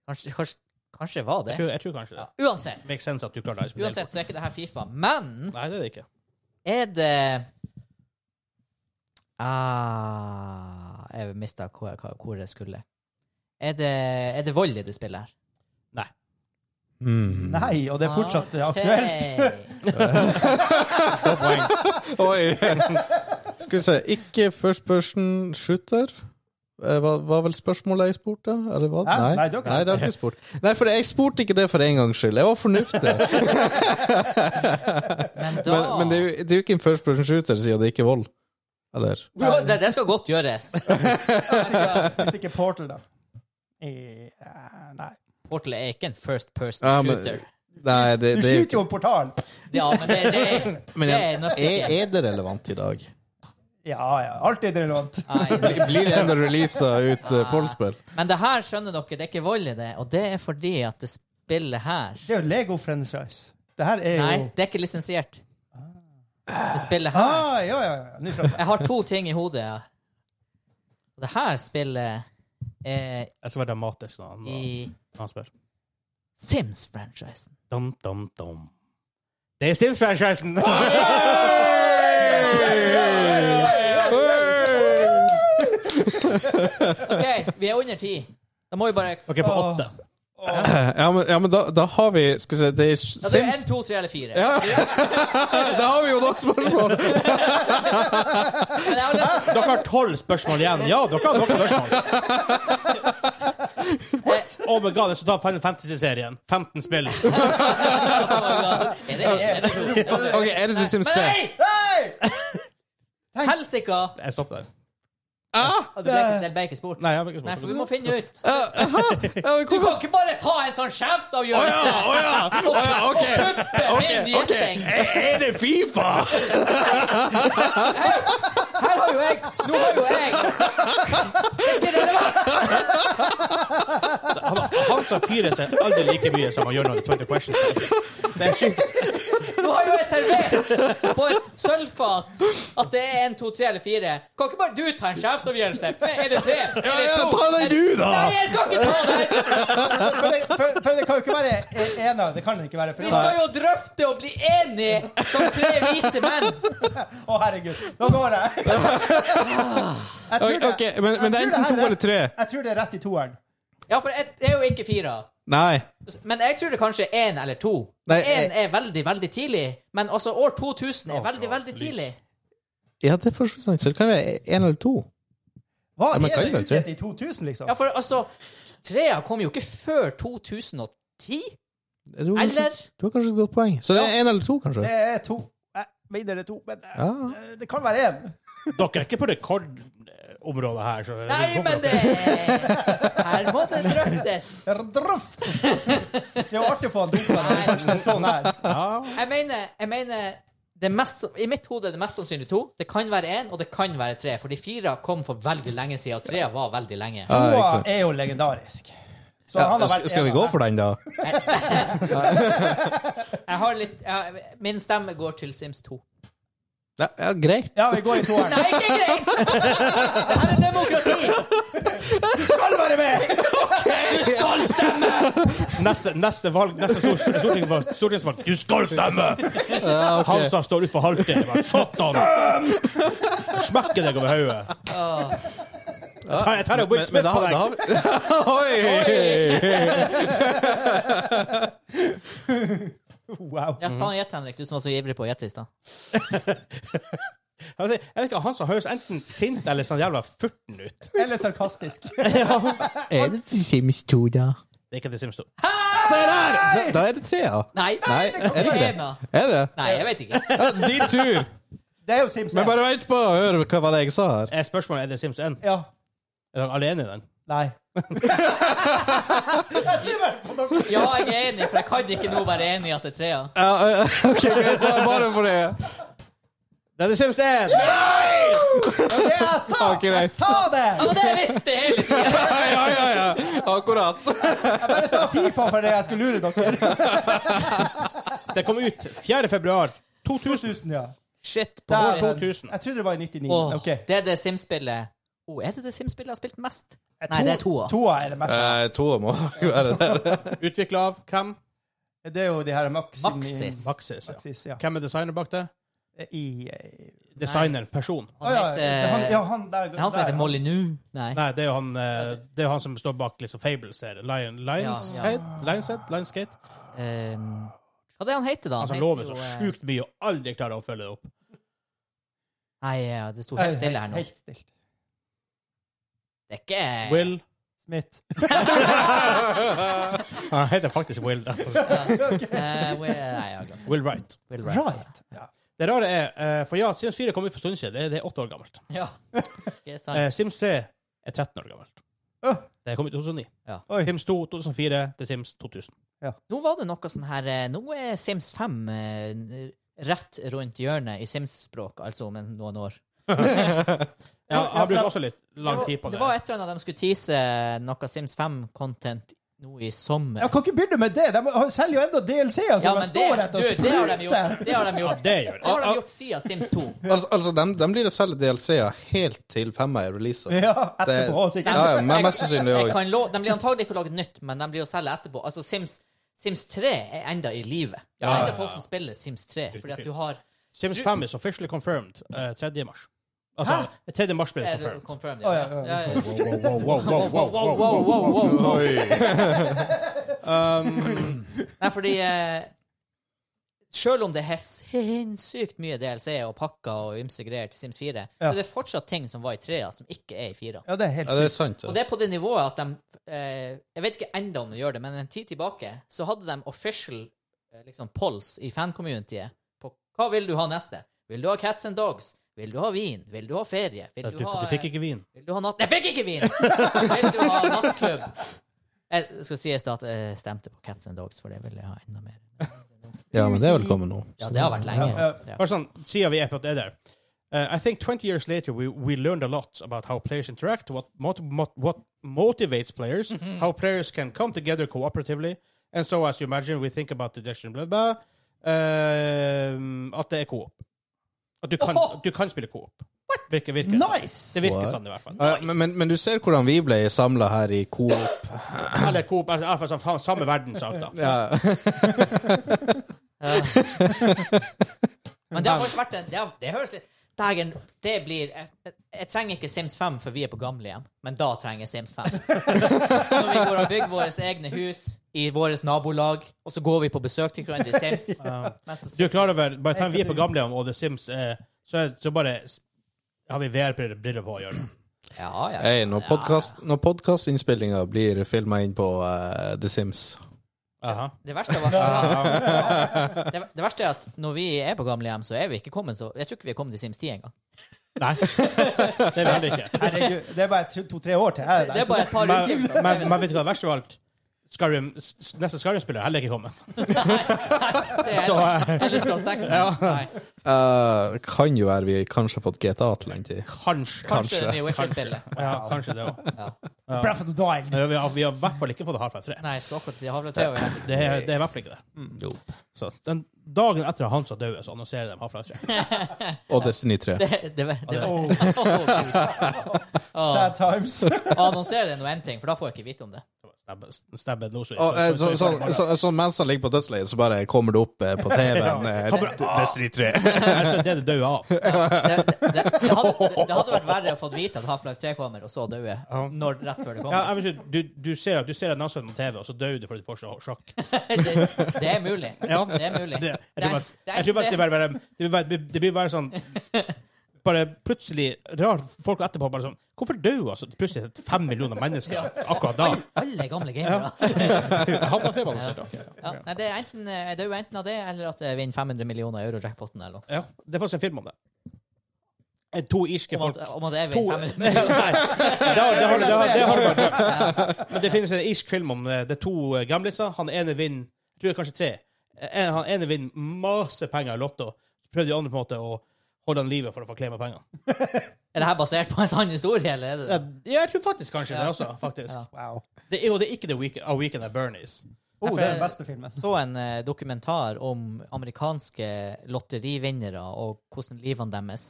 Kanskje, kanskje, kanskje var Jeg det. tror, jeg tror kanskje det. Ja. Uansett. Makes sense at du klarte Iceman Dale. Uansett så er ikke det her Fifa. Men Nei, det er det ikke. er det ah, Jeg mista hvor, jeg- hvor jeg skulle. Er det, er det vold i det spillet her? Mm. Nei, og det er fortsatt Ah, eh, aktuelt. Ok. Oi. Skal vi se. Ikke first person shooter. Eh, Hva var vel spørsmålet jeg spurte? Eller hva? Hæ? Nei, Nei, det var ikke- det har jeg ikke spurt. Nei, for jeg spurte ikke det for en gangs skyld. Jeg var fornuftig. Men da Men, men det, er jo, det er jo ikke en first person shooter, siden det ikke er vold. Eller Bro, det, det skal godt gjøres. Hvis ikke, hvis ikke Portal, da. Eh, nei. Portal er ikke en first person Ja, men- shooter. Nei, det, Du det er skyter jo ikke en portal! Ja, men det, det, er- Men det jeg- er norsk. er, er det relevant i dag? Ja, ja. Alt er relevant. Nei. Blir blir det enda releasa ut uh, pornospill? Ah, Men det her skjønner dere, det er ikke vold i det, og det er fordi at det spillet her Det er jo Lego franchise. Det her er jo Nei, det er ikke lisensiert. Det spillet her ah, Ja, ja, ja. Nå slapp jeg. Jeg har to ting i hodet. ja. Og det her spillet er Jeg skal være dramatisk når han, når i han spør. Sims-franchisen. Dum, dum, dum. Det er Sims-franchisen! OK, vi er under ti. Da må vi bare OK, på åtte. Ja, men, ja, men da, da har vi Skal vi se det er Da er det Sims. én, to, tre eller fire. Da har vi jo nok spørsmål! Men jeg har lyst Dere har tolv spørsmål igjen. Ja, dere har nok spørsmål. Oh my god, jeg skal ta Final Fantasy-serien. 15 spill. Eh, Er det, er det, er det, Ok, er det The Sims 3? Nei! Hei! Helsika! Jeg stopper der. Ah, Du ble ikke, det ble ikke spurt. Nei, jeg har ikke Nei, for vi spørsmål. må finne ut. Ja, men Du hvorfor kan ikke bare ta en sånn sjefsavgjørelse Å ja! Å ja, ok. tuppe min Ok, gjetning! Er det Fifa? Her har jo jeg Nå har jo jeg Han, han som fyrer seg aldri like mye som han gjør når det er 20 questions. Det er sykt. Nå har jo jeg servert på et sølvfat at det er en, to, tre eller fire. Kan ikke bare du ta en sjefsavgjørelse? Er det tre? Er det to? Ja, ja, ta den du, da! Nei, jeg skal ikke ta den! For det, for, for det kan jo ikke være e- ena. Det kan det ikke være. For Vi det. skal jo drøfte og bli enige som tre vise menn. Å, herregud. Nå går jeg. Jeg tror det, Ah. Ok, men, men det er enten to eller tre. jeg tror det er rett i toeren. Ja, for et- det er jo ikke fire. Nei. Men jeg tror det kanskje er én eller to. Nei, eh, Én jeg- er veldig, veldig tidlig. Men altså, år 2000 er veldig, veldig tidlig. Ja, det er for så vidt sant. Så det kan være én eller to. Hva Ja, men kan er det være det tre? utgitt i 2000, liksom? Ja, for altså Trea kom jo ikke før 2010. Jeg tror kanskje- Eller? Du har kanskje et godt poeng. Så det er én eller to, kanskje? Det er to. Jeg mener det er to, men eh, Ja. det kan være én. Dere er ikke på rekordområdet her. Så Nei, men det Her må det drøftes. Drøft! Det er jo artig å få han dumpa når det først er sånn her. Ja. Jeg mener, jeg mener det mest, I mitt hode er det mest sannsynlig to. Det kan være én, og det kan være tre. Fordi fire kom for veldig lenge siden, og tre var veldig lenge. Ja, ikke Toa sant. er jo legendarisk. Så Ja, han har skal, vært skal vi en gå av for den, da? Jeg har litt jeg, Min stemme går til Sims 2. Ja, ja greit. Ja, vi går i toeren. Nei, ikke greit! Det her er demokrati! Skal være med! Skal stemme! Neste, neste valg, neste stor- stortingsvalg, stortingsvalg. Du skal stemme! Han som står utenfor halvtid. bare, Satan! Smekker deg over hodet. Åh. Jeg tar- Jeg tar en Will Men, men Smith da, på da deg. har vi Oi! Wow. Ja, faen gjett, Henrik, du som var så ivrig på å gjette i stad. Jeg vet jeg vet ikke, Han som høres enten sint eller sånn jævla furten ut. Eller sarkastisk. Er det The Sims 2, da? Det er ikke det Sims 2. Se der! Da, da er det tre, ja. Nei, Nei, er det ikke Ena. det? Er det? Nei, jeg vet ikke. Ja, din tur. Det er jo Sims. Men bare vent på å høre hva var det jeg sa her. Er Eh, spørsmålet er det Sims 1? Ja. Er dere alene i den? Nei. Jeg ser vel på dere. Ja, jeg er enig, for jeg kan ikke nå være enig i at det er trea. Ja, ja, ok, greit. Bare- Bare for det. Det er det Sims 1! Det var det jeg sa! Ja, greit. Jeg sa Ja, det! men det visste jeg hele tida! Ja, ja, ja. ja. Akkurat. Jeg bare sa Fifa for det jeg skulle lure dere. Det kom ut 4. februar 2000. 2000, ja. Shit på Der, året. men 2000. Jeg trodde det var i 99. Åh, Ok. Det er det Sims-spillet Åh, Er det det Sims-spillet jeg har spilt mest? Jeg Nei, tror- det er toa. Toa er det mest. Eh, to må være der. Utvikla av hvem? Det er jo de her Maxim... Maxis. Maxis. Ja. Maxis, ja. Hvem er designer bak det? I... eh, Designer. Person. Han Å Ah, ja, heter, det er han, ja, han der. det er han som der, heter Molly Nu. Nei. Nei, det er jo han, eh, det er jo han som står bak liksom Fables-serien. Lion, Lions, Ja, ja. Head- Lionshead? Lionsgate? ehm, hva er det han heter, da? Han som heter lover jo, Altså, så eh, sjukt mye og aldri klarer å følge det opp. Nei, ja, det sto Nei, helt stille her nå. Helt stilt. Det er ikke Will. Smith. Han heter faktisk Will. da. Eh, Will Nei, jeg har glemt det. Will Wright. Will Wright. Right. Ja. Det rare er, eh, for ja, Sims 4 kom ut for en stund siden. Det, det er åtte år gammelt. Ja. Det er sant. Eh, Sims 3 er 13 år gammelt. Øh. Det kom ut i 2009. Oi. Sims 2 2004 til Sims 2000. Nå var det noe sånn her eh, Nå er Sims 5 eh, rett rundt hjørnet i Sims-språk, altså om en- noen år. Ja, ja, han bruker for- også litt lang var- tid på det. det var et eller annet de skulle tease eh, noe Sims 5-content nå i sommer. Jeg kan ikke begynne med det! De har- selger jo enda DLC-er som altså, de står det, rett og du, det har de gjort. spruter! Det har de Ja, gjort, det gjør det. det har de gjort siden Sims 2. Altså, altså de, de blir å selge DLC-er helt til femma er releasa. Ja, etterpå, sikkert. Ja, ja, men mest sannsynlig Jeg òg. kan lo- De blir antagelig ikke å lage nytt, men de blir å selge etterpå. Altså, Sims, Sims 3 er enda i live. Det er Ja, enda ja, folk ja. som spiller Sims 3. Fordi at du har Sims 5 is officially confirmed eh, 3. mars. Altså, 3. mars ble det Er det confirmed. confirmed, Å, ja. ja, ja, Ja, ja. Wow, wow, wow, wow, wow. Wow, wow, wow. Oi. Um, Nei, fordi eh, Selv om det er sinnssykt mye DLC og pakker og ymse greier til Sims 4, Ja. så det er fortsatt ting som var i trea, som ikke er i fira. Ja, det er helt Ja, det er sykt. sant. Og Ja. det er på det nivået at de eh, Jeg vet ikke enda om de gjør det, men en tid tilbake så hadde de official eh, liksom, polls i fancommunityet på hva vil du ha neste. Vil du ha Cats and Dogs? Vil du ha vin? Vil du ha ferie? Vil du, du, ha, du fikk ikke vin. eh, vil du ha natt... Jeg fikk ikke vin! vil du ha nattklubb? Jeg skal sies da at jeg stemte på Cats and Dogs, for det ville jeg ha enda mer. ja, men det er velkommen nå. Ja, det har vært lenge. Ja, Ja. Bare sånn, siden vi er på det der. Uh, I think 20 years later we, we learned a lot about how players interact, what, mot, mot, what motivates players, how players can come together cooperatively, and so as you imagine we think about the gestion, blah, blah, um, at det er co-op. At du kan, Oho! du kan spille co-op. Virker, virker. Nice! Det virker What? sånn i hvert fall. Ja, Eh, men, men, men du ser hvordan vi ble samla her i Coop. Eller Coop, altså, i hvert fall sånn, faen, samme verdensart, da. Ja. Ja. Men det har faktisk vært en Det, har, det høres litt Dagen, det blir jeg, jeg, jeg trenger ikke Sims 5 før vi er på gamlehjem, men da trenger jeg Sims 5. Når vi går og bygger våre egne hus i vårt nabolag, og så går vi på besøk til hverandre i Sims. Mens så- Du er klar over, by the time vi er på gamlehjem og The Sims er, så, er, så bare s- har vi VR-briller på å gjøre det. Ja, ja. Hey, når podcast- når podkastinnspillinga blir filma inn på eh, The Sims Aha. Det verste, var, det, det verste er at når vi er på gamlehjem, så er vi ikke kommet så Jeg tror ikke vi er kommet til Sims 10 engang. Nei, det er vi heller ikke. Herregud, det er bare to-tre år til her. altså. Det er bare et par Men, utgivelser. så er men, vi- men vet du hva, verst av alt Skyrim, s- s- Neste Skyrim-spiller er heller ikke kommet. det er- Så eh, Eller Scroll 6. Nei. Eh, Kan jo være vi kanskje har fått GTA til en tid. kanskje Kanskje det nye Witcher-spillet. Ja, kanskje det òg. Ja. Breath of the Wild. Vi har vi har i hvert fall ikke fått Half-Life 3. Nei, jeg skulle akkurat si Havletøy. og- Det er, det er i hvert fall ikke det. Mm, Jo. Så den dagen etter at han som døde, så annonserer de Half-Life 3. Og Destiny 3. Det, det, var- det, var- Oh, Åh. sad times. Annonserer det nå en ting, for da får jeg ikke vite om det. Stabbe- Stabbe Nosui. Og, eh, så, så, så, så mens han ligger på dødsleiet, så bare kommer det opp eh, på TV-en eh, Han bare, D- Destiny 3. Altså, det er det du dør av. Det, det, det, hadde, det hadde vært verre å få vite at Half-Life 3 kommer, og så dø jeg når, rett før Ja, det kommer. jeg vil si, du, du ser at du ser en på TV, og så dør du fordi du får så sjokk. Det, det er mulig. Ja. Det er mulig. Det, jeg Det er- tror faktisk- det er jeg tror faktisk det ikke- bare, bare, det vil være- det blir bare sånn Bare plutselig Rart folk etterpå bare sånn Hvorfor dør altså plutselig fem millioner mennesker akkurat da? Alle gamle gamere. Havna tre balanser, da. Ja. Nei, det er enten, jeg dør enten av det, eller at jeg vinner 500 millioner euro-jackpoten. Eller noe. Ja, det er faktisk en film om det. Eh, To irske Om folk at, om at jeg To, vinner nei, 500 det, har- det, har, det, har, det har du bare drømt. Men det finnes en irsk film om eh, det er to eh, gamliser. Han ene vinner jeg tror det er kanskje tre. Eh, En, han ene vinner masse penger i Lotto. Så prøvde de andre på en måte å holde han i live for å få klemme pengene. Er det her basert på en sann historie, eller er det Ja, det? jeg tror faktisk kanskje det også. faktisk. Ja. Wow. Det, er- og det er ikke The Weekend, A Weekend at Bernies. Oh, det er den beste filmen. så en eh, dokumentar om amerikanske lotterivinnere og hvordan livene deres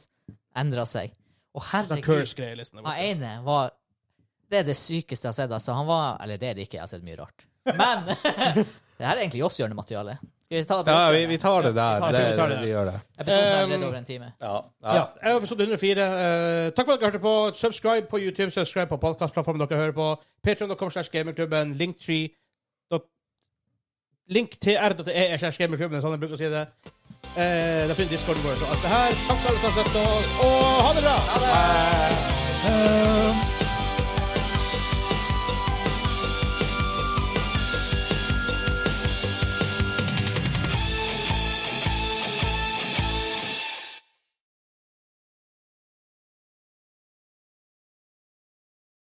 endra seg. Og Den herregud, Curse-greia. Liksom, der han borte. ene var Det er det sykeste jeg har sett. Altså, han var Eller det er det ikke, jeg har sett mye rart. Men det her er egentlig oss gjørende materiale. Skal vi ta det på Ja, oss vi, vi tar det der. tar Det, det, vi tar det vi Ehm, der. gjør det. Episoden er allerede Um, over en time. Ja, jeg er episode 104. Eh, takk for at dere hørte på. Subscribe på YouTube, subscribe på podcastplattformen dere hører på. Patreon.com slash gamingklubben. Linktree dot- Linktr.ee slash gamingklubben, sånn jeg bruker å si det. Eh, det finner Discorden vår og alt det her. Takk for alle som har sett oss, og ha det bra! Ha det! Um,